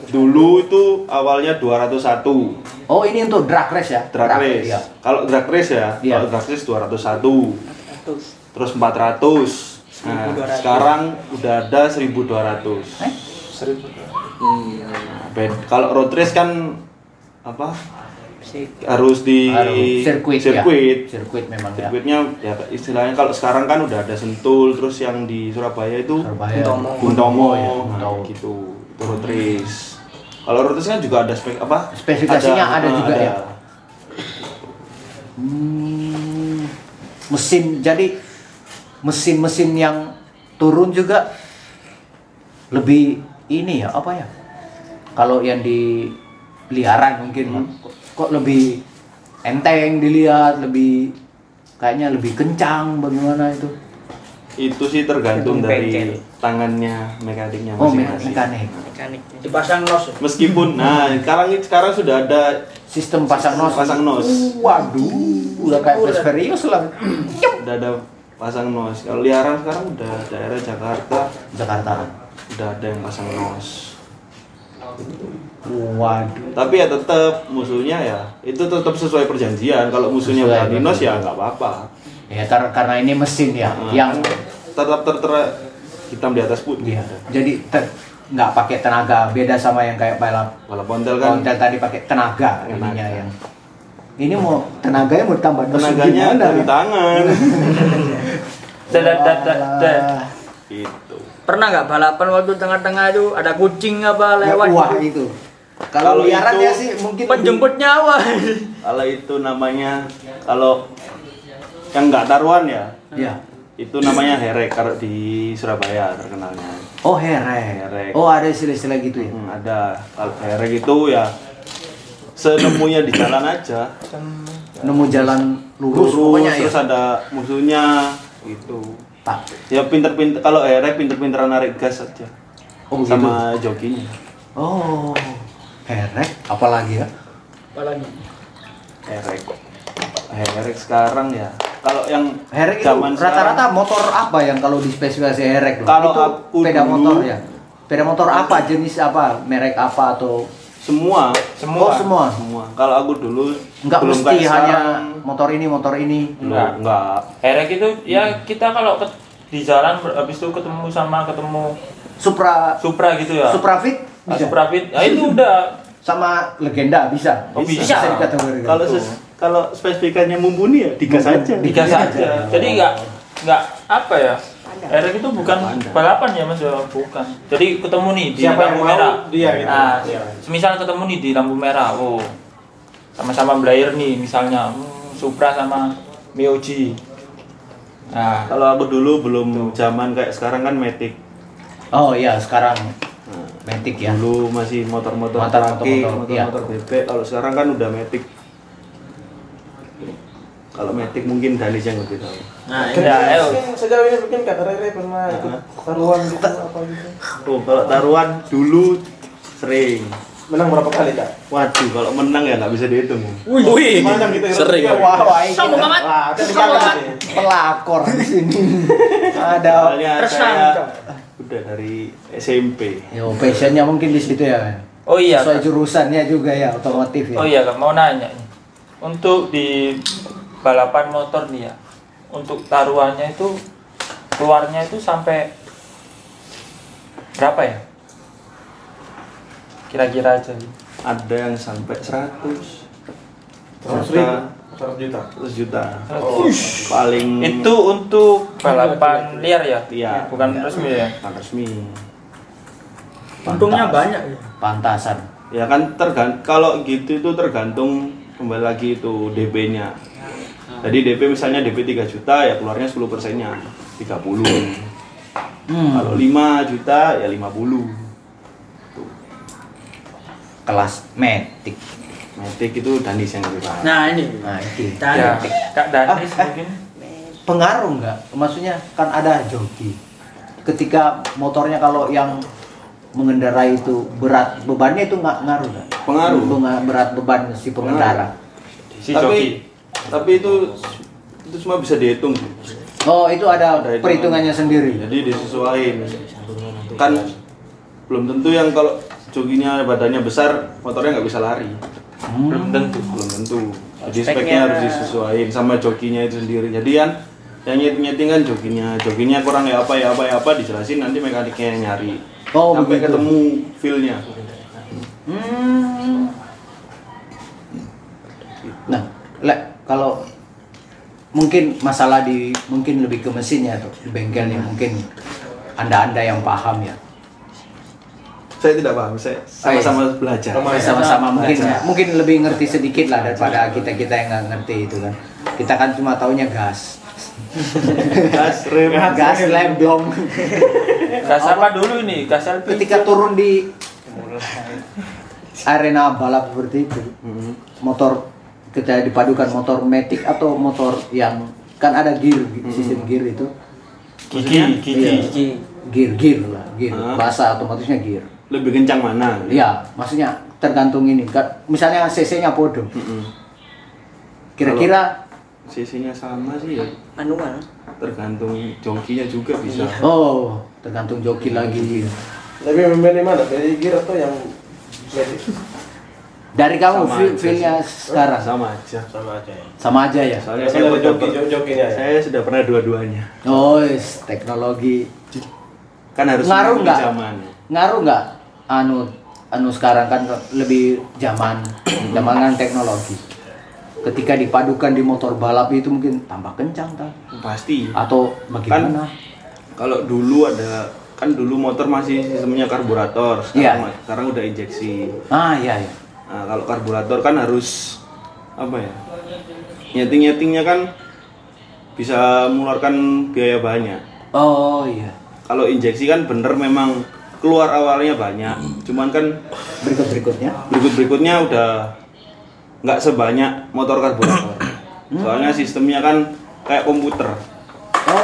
Speaker 9: dulu itu awalnya 201
Speaker 1: Oh, ini untuk drag race ya?
Speaker 9: drag race.
Speaker 1: iya.
Speaker 9: Kalau drag race ya,
Speaker 1: Iya.
Speaker 9: kalau drag race 201. Terus 400. Nah, sekarang udah ada 1200.
Speaker 1: Eh?
Speaker 9: Nah, bed- Kalau road race kan apa?
Speaker 3: Sih.
Speaker 9: Harus di
Speaker 1: Baru sirkuit,
Speaker 9: sirkuit.
Speaker 1: ya. Sirkuit memang ya.
Speaker 9: Sirkuitnya ya istilahnya kalau sekarang kan udah ada Sentul, terus yang di Surabaya itu
Speaker 1: Surabaya.
Speaker 9: Bundomo,
Speaker 1: ya,
Speaker 9: nah,
Speaker 1: Bundomo.
Speaker 9: gitu. Itu road race. Kalau road race kan juga ada spek apa?
Speaker 1: Spesifikasinya ada
Speaker 9: eh,
Speaker 1: juga ya? Hmm, mesin jadi mesin-mesin yang turun juga lebih ini ya apa ya? Kalau yang di liaran mungkin
Speaker 9: Hmm.
Speaker 1: kok, kok lebih enteng dilihat, lebih kayaknya lebih kencang bagaimana itu?
Speaker 9: itu sih tergantung
Speaker 3: Tergantung
Speaker 9: dari
Speaker 3: bengkel.
Speaker 9: tangannya mekaniknya
Speaker 1: Oh,
Speaker 9: masing-masang.
Speaker 1: mekanik.
Speaker 3: Mekaniknya.
Speaker 7: Dipasang nos.
Speaker 9: Meskipun nah sekarang sekarang sudah ada
Speaker 1: Sistem pasang nos.
Speaker 9: pasang nos.
Speaker 1: Waduh, udah kayak Fast Furious lah.
Speaker 9: Udah ada pasang nos. Kalau liaran sekarang udah daerah Jakarta
Speaker 1: Jakarta.
Speaker 9: udah ada yang pasang nos.
Speaker 1: Waduh.
Speaker 9: Tapi ya tetap musuhnya ya itu tetap sesuai perjanjian. Kalau musuhnya
Speaker 1: Sesuai
Speaker 9: berani nos ya
Speaker 1: perjanjian.
Speaker 9: nggak apa-apa.
Speaker 1: Ya kar- karena ini mesin ya,
Speaker 9: Nah,
Speaker 1: yang
Speaker 9: tetap tertera hitam di atas putih.
Speaker 1: Iya. Jadi ter- nggak pakai tenaga, beda sama yang kayak balap
Speaker 9: Kalau pontel kan
Speaker 1: konten tadi pakai tenaga
Speaker 9: Tenaga.
Speaker 1: ininya yang. Ini mau tenaganya mau ditambah mesin
Speaker 9: tenaganya
Speaker 1: gimana
Speaker 9: dari
Speaker 1: ya?
Speaker 9: tangan.
Speaker 7: Dadah, dadah, dadah.
Speaker 1: Walah.
Speaker 9: gitu.
Speaker 7: Pernah nggak balapan waktu tengah-tengah itu ada kucing apa lewat?
Speaker 1: Wah
Speaker 7: gitu?
Speaker 1: itu. Kalau
Speaker 9: Kalau
Speaker 1: liaran
Speaker 9: itu-
Speaker 1: ya sih mungkin
Speaker 7: Penjemput nyawa.
Speaker 9: kalau itu namanya kalau yang nggak taruhan ya
Speaker 1: Ya.
Speaker 9: itu namanya herek kalau di Surabaya terkenalnya
Speaker 1: Oh herek.
Speaker 9: Herek.
Speaker 1: Oh ada istilah-istilah gitu ya.
Speaker 9: Hmm, ada kalau herek itu ya senemunya di jalan aja
Speaker 1: Nemu jalan lurus,
Speaker 9: lurus
Speaker 1: pokoknya
Speaker 9: terus
Speaker 1: ya.
Speaker 9: ada musuhnya gitu
Speaker 1: Tak.
Speaker 9: ya pinter-pinter kalau herek pinter-pinteran narik gas aja
Speaker 1: Oh begitu.
Speaker 9: sama jokinya
Speaker 1: Oh herek. Apalagi ya?
Speaker 7: Apalagi?
Speaker 9: herek herek sekarang ya kalau yang
Speaker 1: Herek itu
Speaker 9: zaman sekarang-
Speaker 1: rata-rata motor apa yang kalau di spesifikasi Herek? loh?
Speaker 9: Kalau
Speaker 1: Itu
Speaker 9: aku
Speaker 1: sepeda
Speaker 9: dulu-
Speaker 1: motor ya. Sepeda motor apa? Jenis apa? Merek apa atau
Speaker 9: semua
Speaker 1: Oh, semua.
Speaker 9: semua kalau aku dulu
Speaker 1: Enggak
Speaker 9: belum
Speaker 1: mesti
Speaker 9: kayak
Speaker 1: hanya
Speaker 9: sekarang.
Speaker 1: motor ini, motor ini.
Speaker 4: Enggak.
Speaker 9: Enggak, enggak.
Speaker 4: Erek itu ya kita kalau ke- di jalan habis itu ketemu sama ketemu
Speaker 1: Supra
Speaker 4: Supra gitu ya.
Speaker 1: Supra Fit
Speaker 4: Ah,
Speaker 1: bisa.
Speaker 4: Supra Fit. Ya itu udah.
Speaker 1: Sama legenda bisa.
Speaker 4: Oh, bisa.
Speaker 1: dikategorikan.
Speaker 9: Kalau ses- kalau spesifikannya mumpuni ya digas
Speaker 1: Mumpuni.
Speaker 9: aja. Iya.
Speaker 1: Digas.
Speaker 4: Tiga saja. Iya, Jadi enggak enggak apa ya? Erek itu bukan
Speaker 9: Pandang.
Speaker 4: balapan ya Mas, ya? bukan. Jadi ketemu nih di
Speaker 8: Siapa yang
Speaker 4: lampu
Speaker 8: mau,
Speaker 4: merah.
Speaker 8: dia gitu.
Speaker 4: Nah,
Speaker 8: Iya.
Speaker 4: semisal ketemu nih di lampu merah. Oh. Sama-sama Blair nih misalnya Hmm, Supra sama Miuji. Nah,
Speaker 9: Kalau aku dulu belum zaman kayak sekarang kan metik.
Speaker 1: Oh iya, sekarang Matic ya.
Speaker 9: Dulu masih motor-motor
Speaker 1: Motor-
Speaker 9: kaki,
Speaker 1: motor-
Speaker 9: motor-motor
Speaker 1: iya.
Speaker 9: bebek. Kalau sekarang kan udah metik. Kalau metik mungkin Danis yang lebih tahu.
Speaker 4: nah ini
Speaker 8: Kenapa
Speaker 4: ya, ayo.
Speaker 8: sih sejauh ini mungkin Kak Rere pernah ikut taruhan gitu apa gitu?
Speaker 9: Oh, kalau taruhan dulu sering
Speaker 8: Menang berapa kali kak?
Speaker 9: waduh kalau menang ya nggak bisa dihitung
Speaker 2: Wih,
Speaker 8: Menang kita
Speaker 2: sering.
Speaker 8: gitu, Wah,
Speaker 11: Sombong amat.
Speaker 8: wah, kita bisa
Speaker 11: Sombong amat.
Speaker 8: nih.
Speaker 1: ya. pelakor di sini ada
Speaker 9: soalnya saya
Speaker 7: tersangka.
Speaker 9: udah dari SMP
Speaker 1: yo passionnya mungkin di situ ya
Speaker 12: Oh iya.
Speaker 1: sesuai
Speaker 12: Kak.
Speaker 1: jurusannya juga ya otomotif ya
Speaker 12: Oh iya, Kak, mau nanya. nih. Untuk di balapan motor dia, untuk taruhannya itu keluarnya itu sampai berapa ya? Kira-kira aja.
Speaker 9: ada yang sampai 100
Speaker 8: Seratus
Speaker 9: juta
Speaker 8: ribu, seratus juta.
Speaker 9: 100 juta
Speaker 12: Oh.
Speaker 9: paling
Speaker 12: Itu untuk balapan liar ya?
Speaker 9: Hmm. Iya.
Speaker 12: Bukan resmi ya?
Speaker 9: bukan resmi
Speaker 7: Untungnya banyak ya.
Speaker 1: pantasan
Speaker 9: ya kan tergan kalau gitu itu tergantung kembali lagi itu DP-nya jadi DP misalnya DP 3 juta ya keluarnya 10 persennya 30
Speaker 7: Hmm.
Speaker 9: kalau 5 juta ya 50
Speaker 3: kelas metik
Speaker 9: Matic itu danis yang lebih mahal
Speaker 7: Nah ini.
Speaker 1: nah itu
Speaker 12: Ya,
Speaker 7: Tanya.
Speaker 12: Kak Danis mungkin.
Speaker 1: pengaruh nggak maksudnya kan ada joki ketika motornya kalau yang mengendarai itu berat bebannya itu nggak ngaruh nggak
Speaker 9: Pengaruh.
Speaker 1: Benga- berat beban si pengendara
Speaker 12: Si
Speaker 9: tapi
Speaker 12: joki.
Speaker 9: tapi itu itu semua bisa dihitung
Speaker 1: oh itu ada
Speaker 9: Ada hitungan.
Speaker 1: perhitungannya sendiri
Speaker 9: jadi disesuaikan kan belum tentu yang kalau joginya badannya besar motornya nggak bisa lari
Speaker 1: Hmm.
Speaker 9: belum tentu belum tentu jadi speknya,
Speaker 3: Speknya.
Speaker 9: harus disesuaikan sama jokinya itu sendiri jadi kan yang nyeting nyeting kan jokinya jokinya kurang ya apa ya apa ya apa dijelasin nanti mekaniknya yang nyari
Speaker 1: Oh,
Speaker 9: sampai
Speaker 1: begitu.
Speaker 9: ketemu feelnya
Speaker 1: nah le, kalau mungkin masalah di mungkin lebih ke mesinnya tuh di bengkelnya mungkin anda-anda yang paham ya
Speaker 9: saya tidak paham
Speaker 1: ya.
Speaker 9: saya ya. sama-sama belajar
Speaker 1: sama-sama mungkin mungkin lebih ngerti sedikit lah daripada kita kita yang nggak ngerti itu kan kita kan cuma taunya gas
Speaker 9: gas rem
Speaker 1: gas lem blong
Speaker 12: Gas apa dulu ini? Gas LPG.
Speaker 1: ketika turun di arena balap seperti itu
Speaker 9: Mhm.
Speaker 1: motor kita dipadukan motor matic atau motor yang kan ada gear sistem gear itu
Speaker 9: gigi gigi
Speaker 1: Iya. gear gear lah gear
Speaker 9: Ah.
Speaker 1: bahasa otomatisnya gear
Speaker 9: lebih kencang mana
Speaker 1: Iya, maksudnya tergantung ini. Ka- Misalnya CC-nya podo.
Speaker 9: Mm-mm.
Speaker 1: Kira-kira
Speaker 9: sisinya sama sih ya
Speaker 3: manual
Speaker 9: tergantung jokinya juga bisa
Speaker 1: oh, tergantung joki lagi.
Speaker 8: Lebih memilih mana? Pilih gear atau yang medik?
Speaker 1: Dari kamu
Speaker 9: Sama
Speaker 1: feel-
Speaker 9: aja
Speaker 1: feel-nya sekarang
Speaker 9: sama aja
Speaker 8: Sama aja. ya.
Speaker 1: sama aja ya.
Speaker 9: soalnya
Speaker 8: Karena
Speaker 9: saya
Speaker 8: dari
Speaker 9: pernah
Speaker 8: joki,
Speaker 9: dapat-
Speaker 8: jokinya ya.
Speaker 9: saya sudah pernah dua-duanya
Speaker 1: Oh, yes, teknologi
Speaker 9: kan harus
Speaker 1: ngaruh
Speaker 9: mengikuti
Speaker 1: nggak?
Speaker 9: zaman
Speaker 1: Ngaruh nggak? Anu anu sekarang kan lebih zaman zaman kan teknologi. Ketika dipadukan di motor balap itu mungkin tambah kencang kan?
Speaker 9: pasti
Speaker 1: Atau
Speaker 9: Kan-
Speaker 1: bagaimana?
Speaker 9: kalau dulu ada kan dulu motor masih sistemnya karburator sekarang,
Speaker 1: Iya.
Speaker 9: sekarang udah injeksi
Speaker 1: Ah, iya ya.
Speaker 9: Nah, kalau karburator kan harus apa ya? Nyeting-nyetingnya kan bisa mengeluarkan biaya banyak.
Speaker 1: Oh, iya.
Speaker 9: Kalau injeksi kan bener memang keluar awalnya
Speaker 1: Hmm.
Speaker 9: banyak. Cuman kan
Speaker 1: Berikut-berikutnya.
Speaker 9: berikut-berikutnya udah nggak sebanyak motor karburator. Soalnya sistemnya kan kayak komputer.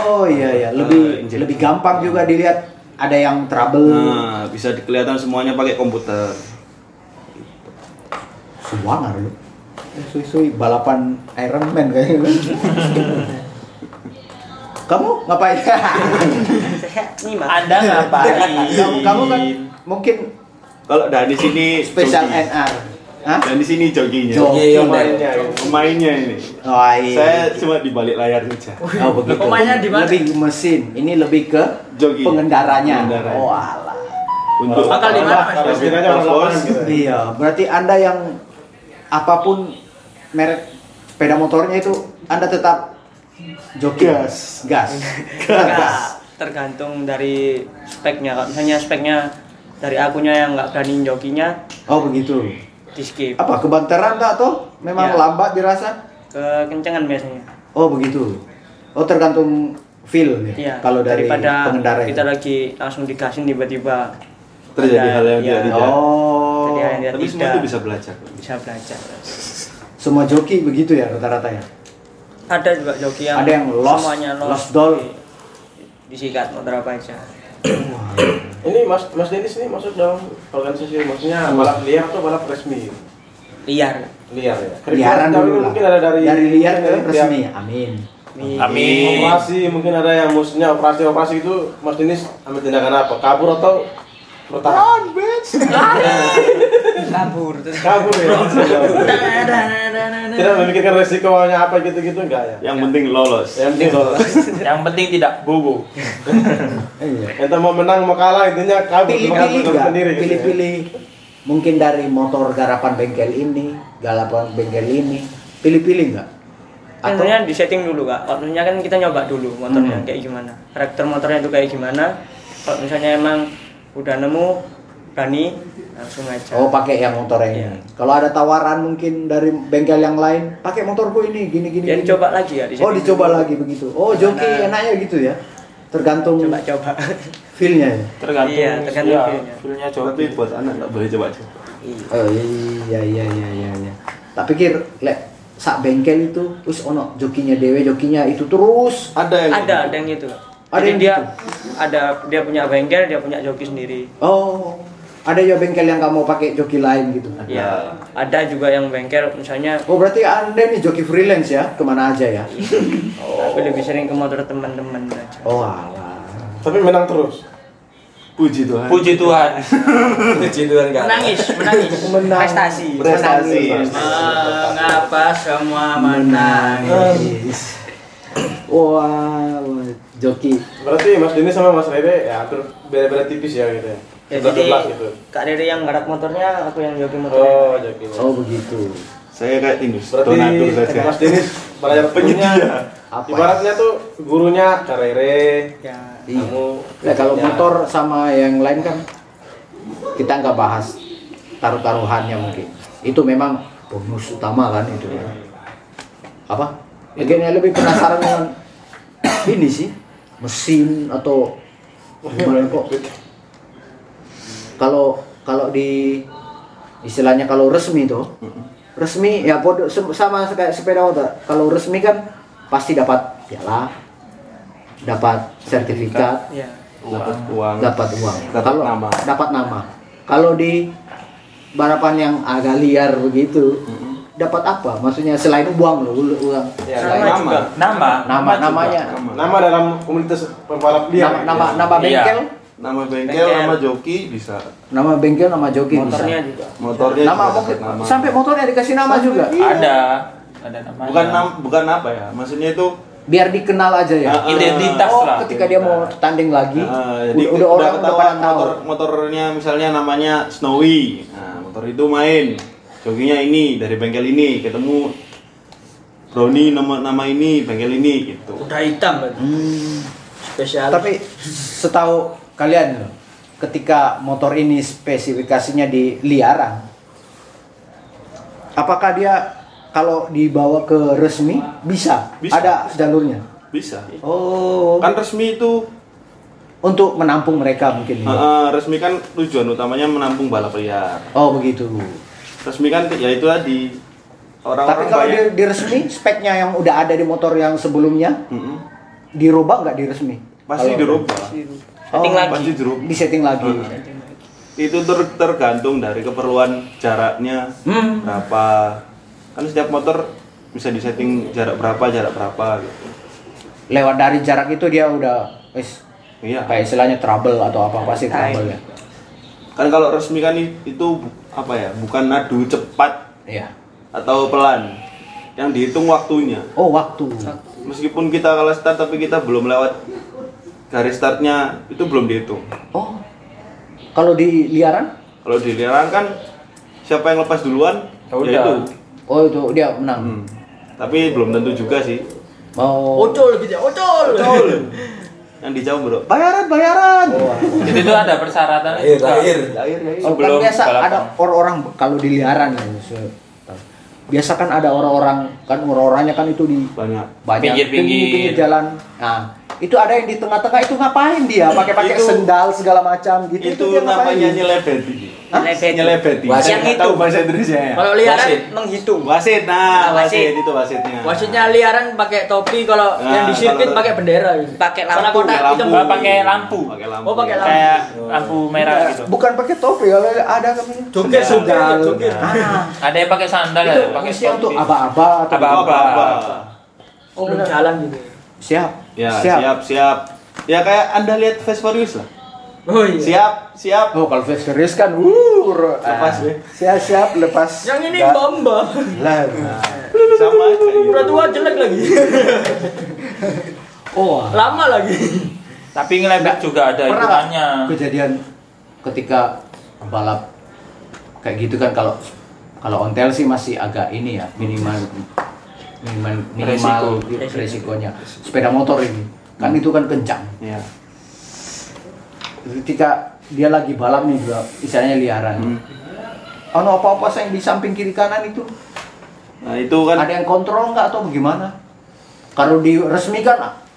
Speaker 1: Oh iya iya
Speaker 9: Eh,
Speaker 1: lebih
Speaker 9: injek.
Speaker 1: lebih gampang juga dilihat ada yang trouble
Speaker 9: Nah, bisa di- kelihatan semuanya pakai komputer.
Speaker 1: suangar lu. Sui-sui balapan Iron Man kayaknya. kamu ngapain?
Speaker 3: saya nyimak
Speaker 12: Anda ngapain?
Speaker 1: kamu, kamu kan mungkin
Speaker 9: Kalau dah di sini
Speaker 1: special
Speaker 9: joki.
Speaker 1: NR. Hah?
Speaker 9: Dan di sini joginya.
Speaker 1: Joki.
Speaker 2: Iya,
Speaker 8: Pemainnya ya.
Speaker 9: Pemainnya ini.
Speaker 1: Oh, iya.
Speaker 9: Saya cuma di balik layar saja.
Speaker 1: Oh, begitu.
Speaker 7: Pemainnya di mana?
Speaker 1: Lebih mesin. Ini lebih ke
Speaker 9: Joki.
Speaker 1: pengendaranya.
Speaker 9: Pengendaranya.
Speaker 1: Oh alah.
Speaker 9: Untuk
Speaker 7: Bakal di mana, Mas?
Speaker 9: Terus kita
Speaker 8: Terus
Speaker 9: bos.
Speaker 8: kita aja
Speaker 1: Iya, berarti Anda yang apapun merek sepeda motornya itu Anda tetap joki gas, gas.
Speaker 3: Nggak, tergantung dari speknya kalau misalnya speknya dari akunya yang nggak berani jokinya
Speaker 1: Oh begitu.
Speaker 3: di skip
Speaker 1: Apa kebanteran tak toh? Memang
Speaker 3: Iya.
Speaker 1: lambat dirasa?
Speaker 3: kekencangan biasanya
Speaker 1: Oh begitu. Oh tergantung feel ya.
Speaker 3: iya
Speaker 1: Kalau dari
Speaker 3: daripada
Speaker 1: pengendara ya? itu.
Speaker 3: kita lagi langsung digasin tiba-tiba
Speaker 9: Terjadi
Speaker 3: Ada-
Speaker 9: hal yang
Speaker 3: iya.
Speaker 9: tidak dijaga.
Speaker 1: Oh.
Speaker 3: Jadi hal yang
Speaker 9: Tapi
Speaker 3: tidak
Speaker 9: semua itu bisa belajar.
Speaker 3: bisa belajar
Speaker 1: Semua joki begitu ya rata-rata ya.
Speaker 3: ada juga joki yang
Speaker 1: Ada yang lost,
Speaker 3: Ya, semuanya lost,
Speaker 1: lost doll.
Speaker 3: disikat motor apa aja
Speaker 8: Ini Mas Mas Denis ini masuk dalam organisasi maksudnya balap liar atau balap resmi?
Speaker 3: liar
Speaker 8: Liar ya.
Speaker 1: Liaran
Speaker 8: Kira-kira
Speaker 1: dulu lah.
Speaker 8: mungkin ada dari
Speaker 1: Dari liar ke
Speaker 8: mungkin dari
Speaker 1: resmi. Amin.
Speaker 8: pihak Operasi mungkin ada yang maksudnya operasi-operasi itu Mas Denis ambil tindakan apa? Kabur atau bertahan?
Speaker 3: kabur
Speaker 8: Kabur ya. Tidak memikirkan resiko awalnya apa gitu-gitu enggak ya.
Speaker 9: Yang penting lolos.
Speaker 8: Yang penting kalau
Speaker 12: Yang penting tidak bobo.
Speaker 1: Iya.
Speaker 8: entah mau menang mau kalah intinya kabur
Speaker 1: pilih-pilih
Speaker 8: kabur
Speaker 1: nggak?
Speaker 8: sendiri gitu ya.
Speaker 1: pilih-pilih mungkin dari motor garapan bengkel ini garapan bengkel ini pilih-pilih nggak atau
Speaker 3: Tentunya di setting dulu kak. Kalau misalnya kan kita nyoba dulu
Speaker 1: Iya.
Speaker 3: motornya
Speaker 1: Hmm.
Speaker 3: kayak gimana, karakter motornya itu kayak gimana. Kalau misalnya emang udah nemu berani langsung aja.
Speaker 1: oh pakai yang motor yang ini
Speaker 3: Iya.
Speaker 1: kalau ada tawaran mungkin dari bengkel yang lain pakai motorku ini gini-gini
Speaker 3: Dan coba lagi ya di
Speaker 1: oh
Speaker 3: setting
Speaker 1: dicoba
Speaker 3: dulu.
Speaker 1: lagi begitu oh joki
Speaker 3: Gimana?
Speaker 1: enaknya gitu ya tergantung
Speaker 3: Coba-coba.
Speaker 1: feelnya ya
Speaker 4: tergantung
Speaker 3: Iya, tergantung
Speaker 4: ya,
Speaker 3: feel-nya.
Speaker 4: feel-nya jauh
Speaker 9: Tapi buat anak nggak boleh coba-coba.
Speaker 1: oh iya iya iya iya iya tak pikir lek sak bengkel itu terus ono jokinya dewe jokinya itu terus
Speaker 9: Ada yang
Speaker 3: ada ada yang gitu. Kak.
Speaker 1: Ada
Speaker 3: Jadi
Speaker 1: yang
Speaker 3: dia
Speaker 1: gitu?
Speaker 3: ada dia punya bengkel, dia punya joki sendiri.
Speaker 1: Oh, ada ya bengkel yang kamu pakai joki lain gitu.
Speaker 9: Ada.
Speaker 3: Iya. Ada juga yang bengkel misalnya
Speaker 1: Oh berarti anda nih joki freelance ya, kemana aja ya?
Speaker 3: Iya. tapi lebih sering ke motor teman-teman aja.
Speaker 1: Oh alah.
Speaker 8: Tapi menang terus.
Speaker 9: Puji Tuhan.
Speaker 12: Puji Tuhan.
Speaker 10: Puji Tuhan kan.
Speaker 11: menangis menangis
Speaker 1: Menang.
Speaker 11: prestasi
Speaker 9: Prestasi.
Speaker 11: mengapa semua
Speaker 1: Menangis. Wah, wah, joki.
Speaker 8: Berarti Mas Dini sama Mas Rere ya hampir beda-beda tipis ya gitu ya.
Speaker 3: Ya,
Speaker 8: Sebelah
Speaker 3: jadi
Speaker 8: sebelah gitu.
Speaker 3: Kak Riri yang garap motornya, aku yang joki motornya.
Speaker 8: Oh, jadi.
Speaker 1: Oh begitu.
Speaker 9: Saya kayak tinus. Donatur
Speaker 8: Berarti
Speaker 9: saja.
Speaker 8: Mas Denis belajar punya ya?
Speaker 1: Apa?
Speaker 8: ibaratnya tuh gurunya Karere.
Speaker 3: Ya.
Speaker 1: Iya.
Speaker 8: Kamu
Speaker 1: Nah, kalau
Speaker 8: ya.
Speaker 1: motor sama yang lain kan kita nggak bahas taruh-taruhannya mungkin. Itu memang bonus utama kan itu. ya. Apa? Mungkin yang lebih penasaran dengan ini sih mesin atau gimana kok. Kalau kalau di istilahnya kalau resmi tuh resmi ya bodoh sama kayak sepeda motor. Kalau resmi kan pasti dapat piala, dapat sertifikat,
Speaker 3: Ya.
Speaker 9: Dapat uang.
Speaker 1: dapat uang
Speaker 9: Dapat
Speaker 1: kalau
Speaker 9: nama.
Speaker 1: dapat nama kalau di balapan yang agak liar begitu dapat apa maksudnya selain uang loh u- uang
Speaker 8: Ya,
Speaker 1: Selain
Speaker 8: nama.
Speaker 9: Nama.
Speaker 12: Nama,
Speaker 1: nama namanya
Speaker 8: Nama dalam komunitas pembalap
Speaker 1: nama
Speaker 8: dia.
Speaker 1: nama, nama
Speaker 12: Iya.
Speaker 1: bengkel
Speaker 9: Nama bengkel,
Speaker 3: Bengkel.
Speaker 9: nama joki bisa.
Speaker 1: nama bengkel nama joki
Speaker 3: Motornya
Speaker 1: bisa.
Speaker 3: juga.
Speaker 9: Motornya
Speaker 1: nama
Speaker 9: juga
Speaker 1: mungkin-
Speaker 9: dapat nama. iya.
Speaker 1: sampai motornya dikasih nama juga
Speaker 12: ada ada namanya.
Speaker 9: bukan nam, bukan apa ya? Maksudnya itu
Speaker 1: biar dikenal aja ya
Speaker 9: Ah, ah.
Speaker 12: identitas
Speaker 1: oh
Speaker 12: lah.
Speaker 1: ketika dia mau tanding lagi
Speaker 9: Ah,
Speaker 1: udah, udah orang udah
Speaker 9: ketahuan
Speaker 1: pada tahu
Speaker 9: motor, motornya misalnya namanya Snowy. Nah, motor itu main. Jokinya ini dari bengkel ini ketemu Brownie nama nama ini bengkel ini gitu.
Speaker 11: udah hitam Bang.
Speaker 3: Hmm.
Speaker 11: spesial
Speaker 1: tapi setahu kalian loh, ketika motor ini spesifikasinya di liaran apakah dia kalau dibawa ke resmi bisa,
Speaker 9: Bisa.
Speaker 1: ada jalurnya
Speaker 9: Bisa.
Speaker 1: oh
Speaker 9: Kan resmi itu
Speaker 1: untuk menampung mereka mungkin
Speaker 9: eh, eh, resmi kan tujuan utamanya menampung balap liar.
Speaker 1: oh begitu
Speaker 9: Resmi kan ya itu tadi
Speaker 1: tapi
Speaker 9: orang-orang
Speaker 1: kalau di,
Speaker 9: banyak.
Speaker 1: di resmi speknya yang udah ada di motor yang sebelumnya
Speaker 9: Mm-mm.
Speaker 1: dirubah nggak di resmi
Speaker 9: Pasti
Speaker 1: Kalau-
Speaker 9: dirubah.
Speaker 3: Setting lagi.
Speaker 9: Pasti dirubah.
Speaker 1: di setting lagi
Speaker 9: itu ter- tergantung dari keperluan jaraknya berapa kan setiap motor bisa disetting jarak berapa jarak berapa gitu
Speaker 1: lewat dari jarak itu dia udah wis
Speaker 9: iya
Speaker 1: kayak istilahnya trouble atau apa pasti trouble ya
Speaker 9: kan kalau resmi kan i- itu bu- apa ya bukan nadu cepat
Speaker 1: Iya.
Speaker 9: atau pelan yang dihitung waktunya
Speaker 1: Oh waktu.
Speaker 9: meskipun kita kalau start tapi kita belum lewat garis startnya itu belum dihitung
Speaker 1: Oh. Kalau di liaran?
Speaker 9: kalau di liaran kan siapa yang lepas duluan
Speaker 12: Ya udah.
Speaker 9: ya itu
Speaker 1: Oh itu dia menang.
Speaker 9: Hmm. tapi belum tentu juga sih
Speaker 1: Oh.
Speaker 11: ocol gitu ya ocol
Speaker 9: yang dijawab bro bayaran bayaran
Speaker 12: Itu tuh ada persyaratan
Speaker 10: Lahir, lahir.
Speaker 9: lahir lahir
Speaker 8: iya.
Speaker 1: Oh, kan
Speaker 12: Sebelum
Speaker 1: biasa
Speaker 12: balapan.
Speaker 1: ada orang-orang kalau di liaran ya. se- Biasa kan ada orang-orang kan orang-orangnya kan itu di
Speaker 9: banyak
Speaker 1: banyak
Speaker 12: Pinggir-pinggir.
Speaker 1: pinggir jalan Nah, itu ada yang di tengah-tengah itu ngapain dia? Pakai-pakai
Speaker 9: Itu-
Speaker 1: sendal segala macam gitu.
Speaker 9: itu
Speaker 1: dia ngapain?
Speaker 9: namanya nyelebeti
Speaker 3: Nyelebeti.
Speaker 9: nyelebeti
Speaker 3: Wasit.
Speaker 9: Saya nggak
Speaker 3: Yang
Speaker 9: tahu
Speaker 3: itu.
Speaker 9: bahasa Indonesia ya
Speaker 11: Kalau liaran menghitung.
Speaker 9: wasit nah
Speaker 11: Nah, wasit.
Speaker 9: wasit itu wasitnya
Speaker 11: Wasitnya liaran pakai topi kalau
Speaker 9: Nah,
Speaker 11: yang di sirkuit
Speaker 9: kalau-
Speaker 11: pakai bendera gitu.
Speaker 3: Pakai lampu.
Speaker 11: Warna kotak
Speaker 9: Pakai ya, lampu.
Speaker 11: hitam.
Speaker 12: Nggak pakai lampu.
Speaker 9: pakai lampu
Speaker 11: Oh, pakai lampu.
Speaker 12: Kayak lampu merah gitu.
Speaker 1: Bukan pakai topi kalau ada namanya.
Speaker 9: Joget,
Speaker 1: sendal.
Speaker 9: joget.
Speaker 1: Ah,
Speaker 12: Ada yang pakai
Speaker 4: Iya,
Speaker 12: sandal, ada
Speaker 1: itu
Speaker 12: yang pakai
Speaker 1: fungsinya
Speaker 12: sepatu.
Speaker 1: untuk aba-aba atau
Speaker 12: Aba-aba.
Speaker 1: apa?
Speaker 9: apa
Speaker 11: Oh, belum jalan gitu.
Speaker 1: Siap.
Speaker 9: ya siap siap ya kayak anda lihat Fast Furious lah
Speaker 11: Oh iya.
Speaker 9: siap siap
Speaker 1: Oh, kalau Fast Furious kan wuh,
Speaker 9: Lepas,
Speaker 1: ah,
Speaker 9: ya.
Speaker 1: Siap, siap lepas.
Speaker 11: Yang ini
Speaker 1: Nggak-
Speaker 11: Bamba.
Speaker 1: Lah.
Speaker 9: sama aja gitu.
Speaker 11: Udah tua jelek lagi.
Speaker 1: Oh,
Speaker 11: Lama lagi.
Speaker 12: Tapi ngelebek juga ada
Speaker 1: pernah nggak
Speaker 12: ikutannya.
Speaker 1: kejadian ketika balap kayak gitu kan kalau kalau ontel sih masih agak ini ya minimal minimal minimal
Speaker 11: Resiko.
Speaker 1: resikonya sepeda motor ini kan itu kan kencang
Speaker 9: ya
Speaker 1: ketika dia lagi balap nih dua misalnya liaran
Speaker 9: Hmm.
Speaker 1: oh no, apa apa saya yang di samping kiri kanan itu
Speaker 9: nah itu kan
Speaker 1: ada yang kontrol nggak atau bagaimana kalau diresmikan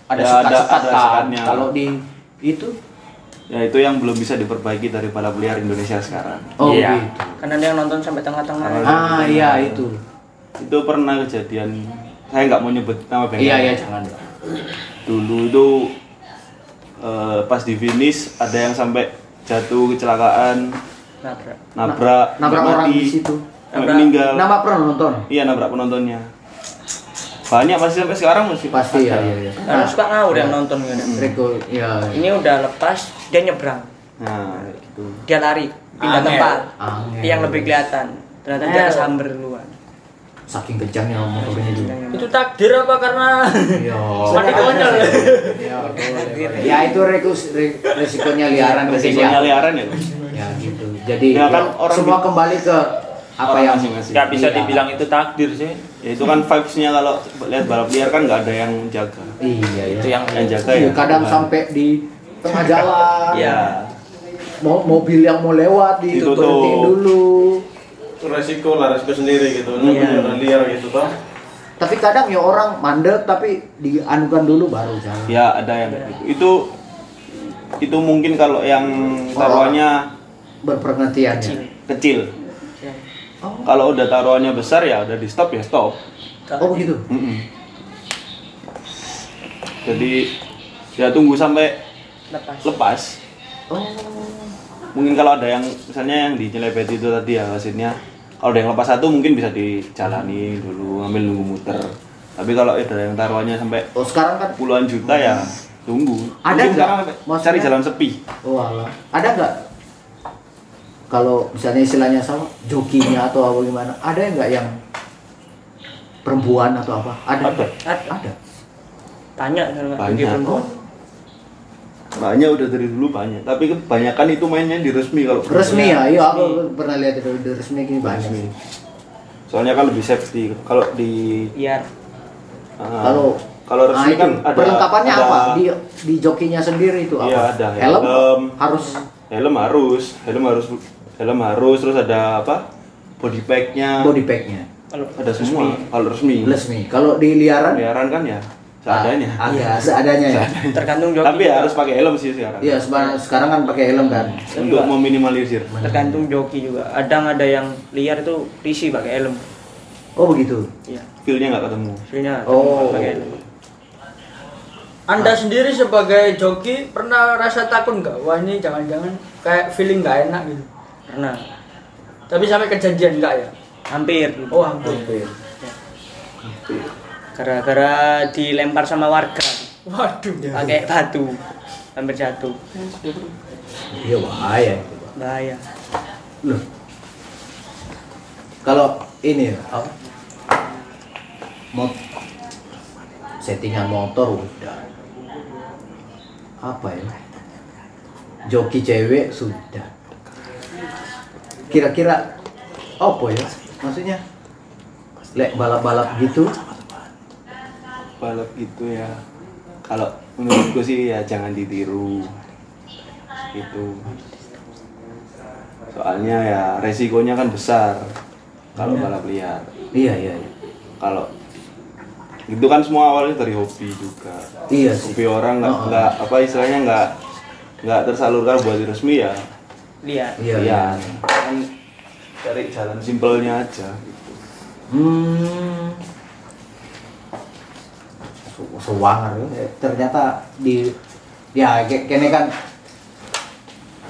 Speaker 1: ada
Speaker 9: Ya, ada-
Speaker 1: sekat-sekat
Speaker 9: ada
Speaker 1: kan.
Speaker 9: sekatnya.
Speaker 1: kalau di itu
Speaker 9: ya itu yang belum bisa diperbaiki dari para peliar Indonesia sekarang
Speaker 1: oh
Speaker 12: Iya.
Speaker 1: gitu
Speaker 3: Karena dia yang nonton sampai tengah-tengah.
Speaker 1: ah iya itu
Speaker 9: itu pernah kejadian saya nggak mau nyebut nama ya. bengkel
Speaker 1: Iya iya jangan.
Speaker 9: dulu itu eh, pas di finish ada yang sampai jatuh kecelakaan
Speaker 3: Nabrak.
Speaker 9: nabrak
Speaker 1: Nabrak
Speaker 9: sampai
Speaker 1: orang
Speaker 9: mati,
Speaker 1: di situ.
Speaker 9: sampai meninggal
Speaker 1: Nama penonton.
Speaker 9: iya nabrak penontonnya banyak pasti sampai sekarang masih
Speaker 1: Pasti ya.
Speaker 9: ada.
Speaker 1: Iya, iya.
Speaker 3: Karena Nah, suka ngawur yang nonton gitu.
Speaker 1: Reko ya.
Speaker 3: Ini udah lepas, dia nyebrang.
Speaker 9: nah kayak gitu
Speaker 3: Dia lari, pindah
Speaker 11: Angel.
Speaker 3: tempat.
Speaker 1: Angel.
Speaker 3: Yang lebih kelihatan. Ternyata dia
Speaker 11: Angel.
Speaker 3: kesamber duluan.
Speaker 1: Saking kejamnya motornya itu.
Speaker 11: Itu takdir apa karena
Speaker 1: Iya.
Speaker 11: mati konyol?
Speaker 1: Iya, boleh. Ya itu reko re- resikonya liaran
Speaker 9: resikonya
Speaker 1: resikonya.
Speaker 9: liaran ya
Speaker 1: Ya gitu. Jadi
Speaker 9: Ya, kan
Speaker 1: ya,
Speaker 9: orang
Speaker 1: semua
Speaker 9: di-
Speaker 1: kembali ke apa
Speaker 9: orang
Speaker 1: yang
Speaker 9: masing-masing.
Speaker 12: Nggak bisa
Speaker 1: Iya.
Speaker 12: dibilang itu takdir sih.
Speaker 9: ya itu kan vibesnya kalau lihat balap liar kan nggak ada yang jaga
Speaker 1: Iya ya.
Speaker 12: Itu yang
Speaker 9: yang jaga
Speaker 1: Iya,
Speaker 9: ya
Speaker 1: kadang
Speaker 9: Tuhan.
Speaker 1: sampai di tengah jalan.
Speaker 9: ya
Speaker 1: Mau mobil yang mau lewat ditutup
Speaker 9: Ditutup.
Speaker 1: berhentiin dulu.
Speaker 8: Itu resiko lah resiko sendiri gitu ini beneran liar gitu toh
Speaker 1: Tapi kadang ya orang mandek tapi dianukan dulu baru jalan.
Speaker 9: ya ada yang kayak gitu itu itu mungkin kalau yang taruhannya
Speaker 1: Berpengertian ya.
Speaker 9: kecil
Speaker 1: Oh.
Speaker 9: kalau udah taruhannya besar ya udah di stop ya stop
Speaker 1: Oh begitu.
Speaker 9: Mm-mm. jadi ya tunggu sampai
Speaker 3: Lepas.
Speaker 9: lepas
Speaker 1: Oh.
Speaker 9: mungkin kalau ada yang misalnya yang dicelepeti itu tadi ya wasitnya kalau ada yang lepas satu mungkin bisa dijalani dulu ngambil nunggu muter tapi kalau ada yang taruhannya sampai
Speaker 1: Oh sekarang kan
Speaker 9: puluhan juta ya tunggu
Speaker 1: Ada
Speaker 9: Mungkin
Speaker 1: nggak?
Speaker 9: sekarang sampai
Speaker 1: Maksudnya-
Speaker 9: cari jalan sepi
Speaker 1: oh alah. Ada nggak kalau misalnya istilahnya sama jokinya atau apa gimana? Ada nggak yang perempuan atau apa? Ada.
Speaker 9: Ada.
Speaker 3: Ah,
Speaker 1: Ada. Ada.
Speaker 3: Banyak kan Pak?
Speaker 9: banyak banyak udah dari dulu banyak tapi kebanyakan itu mainnya di resmi kalau
Speaker 1: Resmi ya, iya aku pernah lihat itu di resmi gini banyak.
Speaker 9: resmi soalnya kan lebih safety kalau di
Speaker 3: Iya.
Speaker 9: ah,
Speaker 1: Kalau
Speaker 9: kalau
Speaker 1: ah,
Speaker 9: resmi
Speaker 1: itu,
Speaker 9: kan ada
Speaker 1: perlengkapannya
Speaker 9: ada-
Speaker 1: apa? Di di jokinya sendiri itu apa?
Speaker 9: Iya, ada
Speaker 1: Helm,
Speaker 9: helm. Ah.
Speaker 1: harus
Speaker 9: helm harus helm harus helm harus terus ada apa body packnya
Speaker 1: body packnya.
Speaker 3: Kalau
Speaker 9: ada semua kalau resmi
Speaker 1: Resmi. Kalau di liaran
Speaker 9: peliharaan kan ya seadanya
Speaker 1: ah, Agak seadanya ya.
Speaker 3: tergantung joki.
Speaker 9: tapi ya harus pakai helm sih sekarang
Speaker 1: Iya, seba- sekarang kan pakai helm kan.
Speaker 9: untuk meminimalisir
Speaker 3: tergantung joki juga. Kadang ada yang liar itu risi pakai helm.
Speaker 1: Oh begitu.
Speaker 3: Iya.
Speaker 9: feelnya nggak ketemu
Speaker 3: Maksudnya
Speaker 1: Oh.
Speaker 3: pakai helm.
Speaker 11: Anda sendiri sebagai joki pernah rasa takut nggak? Wah ini jangan-jangan kayak feeling nggak enak gitu.
Speaker 3: Pernah.
Speaker 11: Tapi sampai kejadian nggak ya?
Speaker 3: Hampir.
Speaker 11: Oh hampir.
Speaker 3: Gara-gara dilempar sama warga
Speaker 11: Waduh.
Speaker 3: pakai batu. Hampir jatuh.
Speaker 1: Iya bahaya. itu.
Speaker 3: Bahaya.
Speaker 1: Loh. Kalau ini apa? Mot settingan motor udah. Apa ya? Joki cewek sudah. Kira-kira apa ya? Maksudnya lek balap-balap gitu
Speaker 9: balap gitu ya kalau menurutku sih ya jangan ditiru itu soalnya ya resikonya kan besar kalau balap liar
Speaker 1: iya iya iya.
Speaker 9: kalau itu kan semua awalnya dari hobi juga
Speaker 1: Iya sih.
Speaker 9: hobi orang nggak
Speaker 1: Oh.
Speaker 9: nggak apa istilahnya nggak nggak tersalurkan buat resmi ya
Speaker 4: lihat
Speaker 1: Iya.
Speaker 9: Iya. Kan cari jalan simpelnya aja
Speaker 1: Hmm. Su- Suwanger ya. ternyata di ya kayak kene kan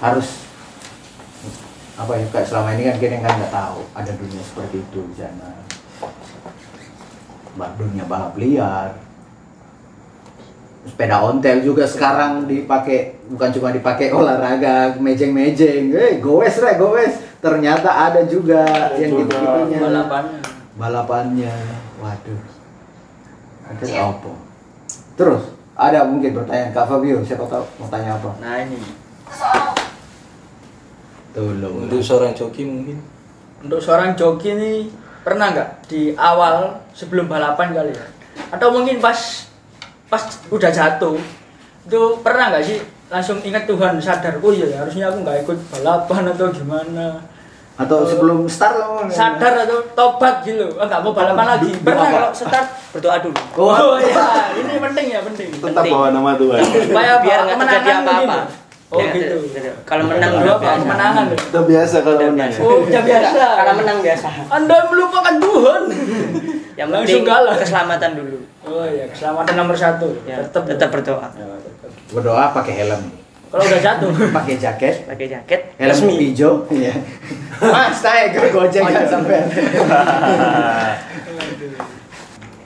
Speaker 1: harus apa ya kayak selama ini kan kene kan nggak tahu ada dunia seperti itu di sana. Ba- Dunia balap liar. Sepeda ontel juga sekarang dipakai bukan cuma dipakai olahraga mejeng-mejeng, eh gowes rek gowes. Ternyata ada juga yang gitu-gitunya
Speaker 3: balapan
Speaker 1: balapannya waduh ada apa terus ada mungkin pertanyaan kak Fabio siapa tahu mau tanya apa
Speaker 3: nah ini
Speaker 1: tolong
Speaker 2: Untuk seorang joki mungkin
Speaker 3: untuk seorang joki ini pernah nggak di awal sebelum balapan kali ya atau mungkin pas pas udah jatuh itu pernah nggak sih langsung ingat Tuhan sadar oh iya ya, harusnya aku nggak ikut balapan atau gimana
Speaker 1: atau sebelum start kamu
Speaker 3: sadar atau tobat gitu Ah, nggak mau balapan lagi pernah
Speaker 1: Apa?
Speaker 3: kalau start
Speaker 4: berdoa dulu
Speaker 3: oh ya ini penting ya penting
Speaker 9: tetap bawa nama Tuhan
Speaker 3: supaya
Speaker 4: biar nggak terjadi
Speaker 3: kemenangan
Speaker 4: apa-apa Iya,
Speaker 3: begitu. oh gitu
Speaker 4: kalau menang
Speaker 3: Dua
Speaker 4: dulu
Speaker 3: apa kemenangan loh.
Speaker 9: kita biasa kalau menang ya
Speaker 3: oh udah biasa
Speaker 4: kalau menang biasa
Speaker 3: anda melupakan Tuhan
Speaker 4: yang
Speaker 3: Langsung
Speaker 4: penting
Speaker 3: kalah.
Speaker 4: keselamatan dulu
Speaker 3: oh iya keselamatan nomor satu
Speaker 4: ya,
Speaker 3: tetap
Speaker 4: tetap,
Speaker 3: tetap
Speaker 4: berdoa
Speaker 1: berdoa ah, pakai helm
Speaker 3: kalau udah jatuh
Speaker 1: pakai jaket
Speaker 4: pakai jaket
Speaker 1: helm hijau iya mas saya ke gojek kan sampai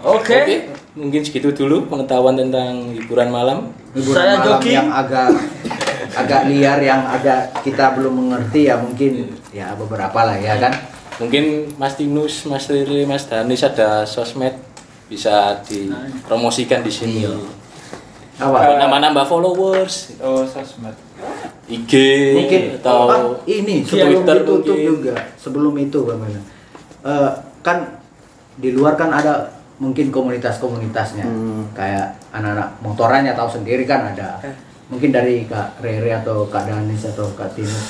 Speaker 3: oke
Speaker 2: Oke, mungkin segitu dulu pengetahuan tentang hiburan malam.
Speaker 1: Hiburan
Speaker 3: Saya
Speaker 1: malam
Speaker 3: joki.
Speaker 1: yang agak agak liar yang agak kita belum mengerti ya mungkin ya beberapa lah ya kan
Speaker 2: Mungkin Mas Tinus, Mas Riri, Mas Danis ada sosmed bisa dipromosikan di sini.
Speaker 1: Iya. apa
Speaker 2: Buat Nambah-nambah followers,
Speaker 13: oh sosmed
Speaker 2: IG
Speaker 1: mungkin
Speaker 2: atau
Speaker 1: Bang, Iya. Ah, ini sebelum
Speaker 2: Twitter
Speaker 1: ditutup
Speaker 2: mungkin.
Speaker 1: juga sebelum itu bagaimana kan di luar kan ada mungkin komunitas-komunitasnya kayak anak-anak motorannya tahu sendiri kan ada
Speaker 2: Eh.
Speaker 1: mungkin dari kak Rere atau kak Danis atau kak Tinus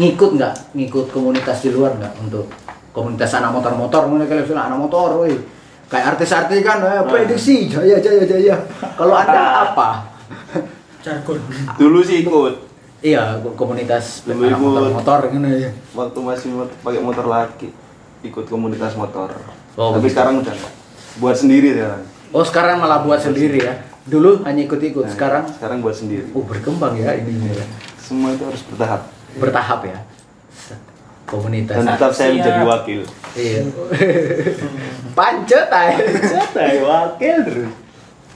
Speaker 1: ngikut nggak ngikut komunitas di luar nggak untuk komunitas anak motor-motor mungkin kalau bilang anak motor woi kayak artis-artis kan eh, prediksi jaya jaya jaya kalau anda apa
Speaker 3: jargon
Speaker 9: dulu sih ikut
Speaker 1: Iya, komunitas
Speaker 9: Lu
Speaker 1: anak
Speaker 9: ikut.
Speaker 1: motor-motor gitu ya.
Speaker 9: waktu masih mot- pakai motor laki ikut komunitas motor
Speaker 1: Oh,
Speaker 9: tapi
Speaker 1: begitu.
Speaker 9: sekarang udah nggak. buat sendiri sekarang
Speaker 1: Oh, sekarang malah buat sendiri ya. Dulu hanya
Speaker 9: Nah.
Speaker 1: ikut-ikut, sekarang
Speaker 9: sekarang buat sendiri
Speaker 1: oh berkembang ya ini
Speaker 9: semua itu harus bertahap
Speaker 1: Bertahap ya. Komunitas.
Speaker 9: dan tetap saya menjadi wakil
Speaker 1: Iya. Pancet aja.
Speaker 9: saya wakil terus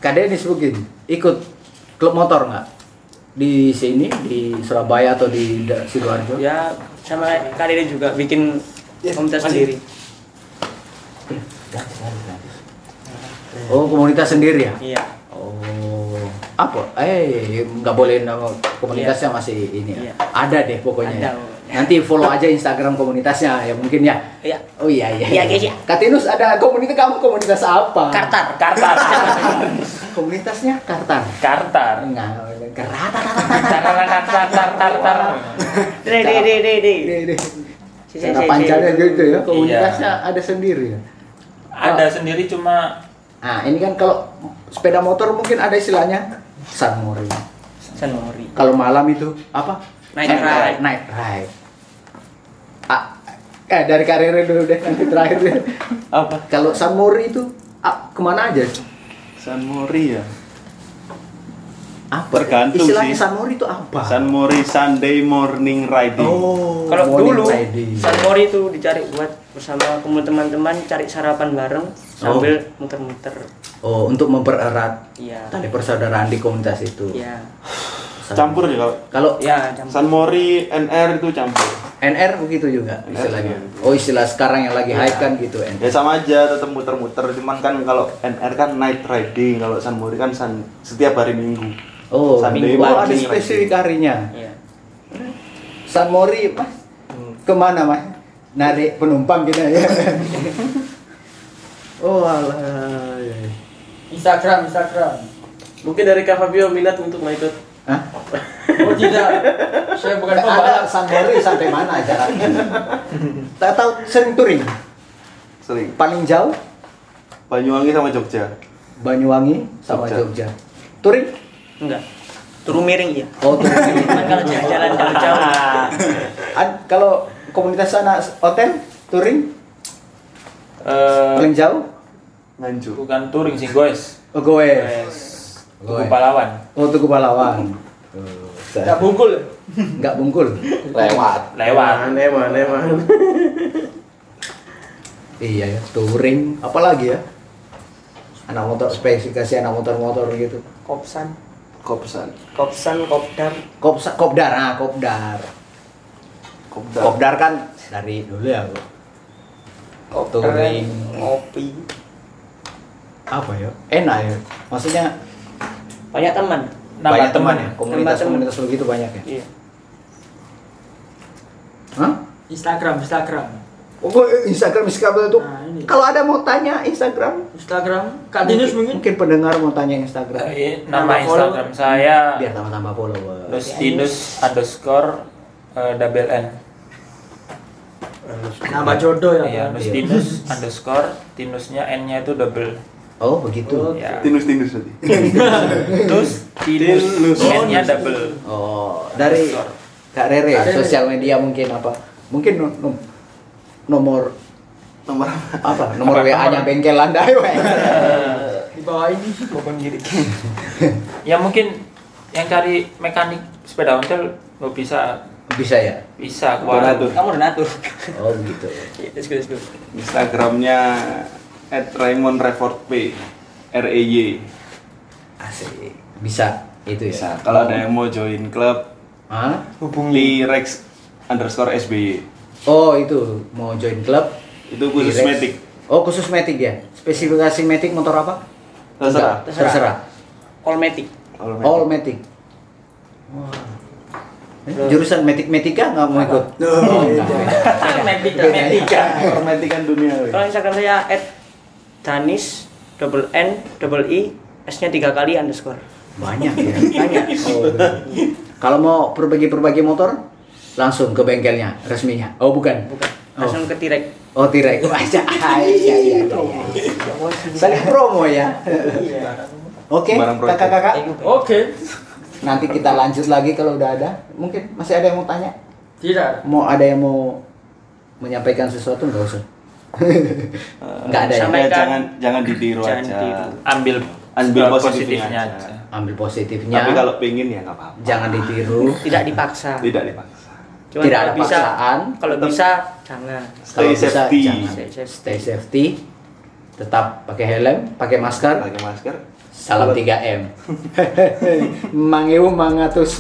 Speaker 1: Kadenis mungkin ikut klub motor nggak? Di sini di Surabaya atau di da- Sidoarjo?
Speaker 4: ya sama kali ini juga bikin
Speaker 3: Ya,
Speaker 4: komunitas sendiri
Speaker 1: Oh, komunitas sendiri ya?
Speaker 4: iya
Speaker 1: Oh, apa? Eh, nggak boleh nama komunitasnya masih ini ya.
Speaker 4: Iya.
Speaker 1: Ada deh pokoknya.
Speaker 4: Ada.
Speaker 1: ya. Nanti follow aja Instagram komunitasnya ya mungkin ya.
Speaker 4: iya
Speaker 1: Oh iya iya.
Speaker 4: Iya, guys, ya.
Speaker 1: Katinus ada komunitas kamu komunitas apa?
Speaker 4: kartar kartar
Speaker 1: Komunitasnya Kartar.
Speaker 13: kartar
Speaker 1: Enggak, Kartar.
Speaker 13: tar tar tar tar tar tar tar
Speaker 4: de de de de de
Speaker 1: Ini, ini.
Speaker 4: Si, si,
Speaker 1: Cara
Speaker 4: si,
Speaker 1: pancanya
Speaker 4: si.
Speaker 1: gitu ya, komunitasnya ada sendiri ya.
Speaker 13: ada sendiri cuma
Speaker 1: Nah, ini kan kalau sepeda motor mungkin ada istilahnya sunmori.
Speaker 4: senori
Speaker 1: Kalau malam itu apa?
Speaker 4: Night
Speaker 1: Eh,
Speaker 4: ride.
Speaker 1: Night ride. Ah, eh dari karirnya dulu deh nanti terakhir deh.
Speaker 9: apa
Speaker 1: Kalau Samori itu ah, kemana aja?
Speaker 9: San Mori ya
Speaker 1: Apa?
Speaker 9: Tergantung
Speaker 1: Istilahnya
Speaker 9: sih.
Speaker 1: Samori itu apa?
Speaker 9: San Mori Sunday morning riding
Speaker 1: oh,
Speaker 4: kalau
Speaker 1: morning
Speaker 4: dulu
Speaker 1: riding.
Speaker 4: senori itu dicari buat bersama kumpul teman-teman cari sarapan bareng sambil muter-muter
Speaker 1: Oh, untuk mempererat
Speaker 4: iya
Speaker 1: tali persaudaraan di komunitas itu.
Speaker 4: iya
Speaker 1: San-
Speaker 9: campur ya kalau
Speaker 1: Kalau
Speaker 4: iya jam-
Speaker 9: San Mori NR itu campur
Speaker 1: NR begitu juga
Speaker 9: NR
Speaker 1: istilahnya.
Speaker 9: juga.
Speaker 1: Oh, istilah sekarang yang lagi hype kan gitu
Speaker 9: ya
Speaker 1: NR.
Speaker 9: sama aja tetap muter-muter cuman kan kalau NR kan night riding kalau San Mori kan sun- setiap hari minggu
Speaker 1: Oh,
Speaker 9: Sunday
Speaker 1: oh, ada
Speaker 9: morning
Speaker 1: spesifik harinya.
Speaker 4: iya
Speaker 1: Samori, Mas. Kemana, Mas? Narik penumpang kita ya. oh, alah.
Speaker 3: Instagram Instagram
Speaker 14: Mungkin dari Kak Fabio minat untuk mengikut
Speaker 1: Hah?
Speaker 3: oh tidak saya bukan
Speaker 1: Anda
Speaker 3: pembalap
Speaker 1: Samori sampai mana jaraknya? Tak tahu sering touring.
Speaker 9: sering
Speaker 1: Paling jauh
Speaker 9: Banyuwangi sama Jogja.
Speaker 1: Banyuwangi sama Jogja. Touring?
Speaker 3: Enggak. Turu miring iya.
Speaker 1: Oh, turu miring.
Speaker 3: Cuman kalau jalan-jalan jauh-jauh.
Speaker 1: Ad- kalau komunitas anak hotel touring
Speaker 13: Eh,
Speaker 1: paling jauh
Speaker 9: Nganjuk.
Speaker 12: Bukan kan touring sih, guys.
Speaker 1: Oh, goes.
Speaker 12: Tugu Pahlawan.
Speaker 1: Oh, Tugu Pahlawan.
Speaker 12: Nggak
Speaker 1: bungkul. ya? Enggak bungkul.
Speaker 12: Lewat. Lewat.
Speaker 8: Aneh, aneh, aneh.
Speaker 1: Iya ya, touring. Apalagi ya? Anak motor spesifikasi anak motor-motor gitu.
Speaker 3: Kopsan.
Speaker 9: Kopsan.
Speaker 3: Kopsan, kopdar.
Speaker 1: Kopsa, kopdar, ah, kopdar. Kopdar. kan dari dulu ya, Bu. Touring.
Speaker 3: ngopi.
Speaker 1: Apa ya? Enak ya. Maksudnya
Speaker 3: Banyak teman.
Speaker 1: banyak teman ya, komunitas komunitas lo gitu banyak ya.
Speaker 3: Iya.
Speaker 1: Hah?
Speaker 11: Instagram, Instagram.
Speaker 1: Oh, kok Instagram Instagram itu. Kalau ada mau tanya Instagram,
Speaker 11: Instagram, Kak Dinus mungkin.
Speaker 1: mungkin Iya. pendengar mau tanya Instagram.
Speaker 12: Iya. Nama Iya. Instagram saya
Speaker 1: biar tambah-tambah Iya, follower.
Speaker 12: Nusdinus underscore eh, double N.
Speaker 11: Nama jodoh ya,
Speaker 12: Iya,
Speaker 11: Pak?
Speaker 12: Nusdinus underscore Tinusnya N-nya itu double.
Speaker 1: Oh, begitu.
Speaker 12: Ya.
Speaker 9: Tinus tinus tadi.
Speaker 12: Nus Tinus iya. N-nya double.
Speaker 1: Oh, dari Kak Rere,
Speaker 12: Kak Rere.
Speaker 1: sosial media mungkin apa? Mungkin nom- nom- nomor
Speaker 9: nomor
Speaker 1: apa? Nomor
Speaker 12: Apa?
Speaker 1: WA-nya
Speaker 12: Nomor-
Speaker 1: bengkel Anda. eh.
Speaker 11: Di bawah ini
Speaker 12: Bukan diri. ya mungkin yang cari mekanik sepeda ontel lo bisa
Speaker 1: Bisa ya?
Speaker 12: bisa Iya,
Speaker 9: Donatur.
Speaker 3: Kamu udah natur.
Speaker 1: Oh, begitu.
Speaker 3: Let's go, let's go.
Speaker 9: Instagramnya at Raymond Revort P R E Y
Speaker 1: Asik. Bisa itu ya.
Speaker 9: bisa kalau ada yang mau join klub
Speaker 1: Hah?
Speaker 9: hubungi Rex underscore SBY
Speaker 1: Oh, itu mau join klub.
Speaker 9: itu khusus
Speaker 1: Di Rex.
Speaker 9: metik
Speaker 1: Oh, khusus metik ya. Spesifikasi metik motor apa?
Speaker 9: Terserah.
Speaker 1: Enggak, Terserah.
Speaker 3: Kolmetik.
Speaker 1: All metik. Eh, Jurusan metik-metika nggak mau ikut? Oh,
Speaker 3: Medika,
Speaker 1: Medika. kan
Speaker 9: Permetikan dunia weh.
Speaker 3: Kalau Instagram saya at Danis double N double I S nya tiga kali underscore.
Speaker 1: Banyak ya. Kalau mau perbagi-perbagi motor, langsung ke bengkelnya resminya. Oh bukan. Bukan. Oh,
Speaker 3: Langsung ke Tirek.
Speaker 1: oh tirai. Wah, ya, iya, iya, iya. Saling promo ya. Oke,
Speaker 9: Barang proyek.
Speaker 1: kakak-kakak.
Speaker 11: Oke.
Speaker 1: Nanti kita lanjut lagi kalau udah ada. Mungkin masih ada yang mau tanya.
Speaker 11: Tidak.
Speaker 1: Mau ada yang mau menyampaikan sesuatu nggak usah. Nggak ada ya.
Speaker 9: Ya,
Speaker 3: Sampaikan.
Speaker 9: jangan jangan ditiru
Speaker 3: Jangan
Speaker 9: aja
Speaker 3: ditiru.
Speaker 12: ambil
Speaker 9: ambil
Speaker 12: eh,
Speaker 9: positifnya, aja.
Speaker 1: Ambil positifnya.
Speaker 9: tapi kalau pengen ya nggak apa-apa
Speaker 1: jangan ditiru.
Speaker 3: Tidak dipaksa.
Speaker 9: tidak dipaksa
Speaker 3: Cuma
Speaker 1: Tidak
Speaker 3: kalau
Speaker 1: ada
Speaker 3: bisa,
Speaker 1: paksaan.
Speaker 3: kalau bisa jangan.
Speaker 1: Kalau
Speaker 9: stay
Speaker 1: bisa,
Speaker 9: safety
Speaker 1: jangan.
Speaker 3: Stay safe.
Speaker 1: Stay safety. Tetap pakai helm, pakai masker.
Speaker 9: pakai masker
Speaker 1: Salam 3M. Mangewu mangatus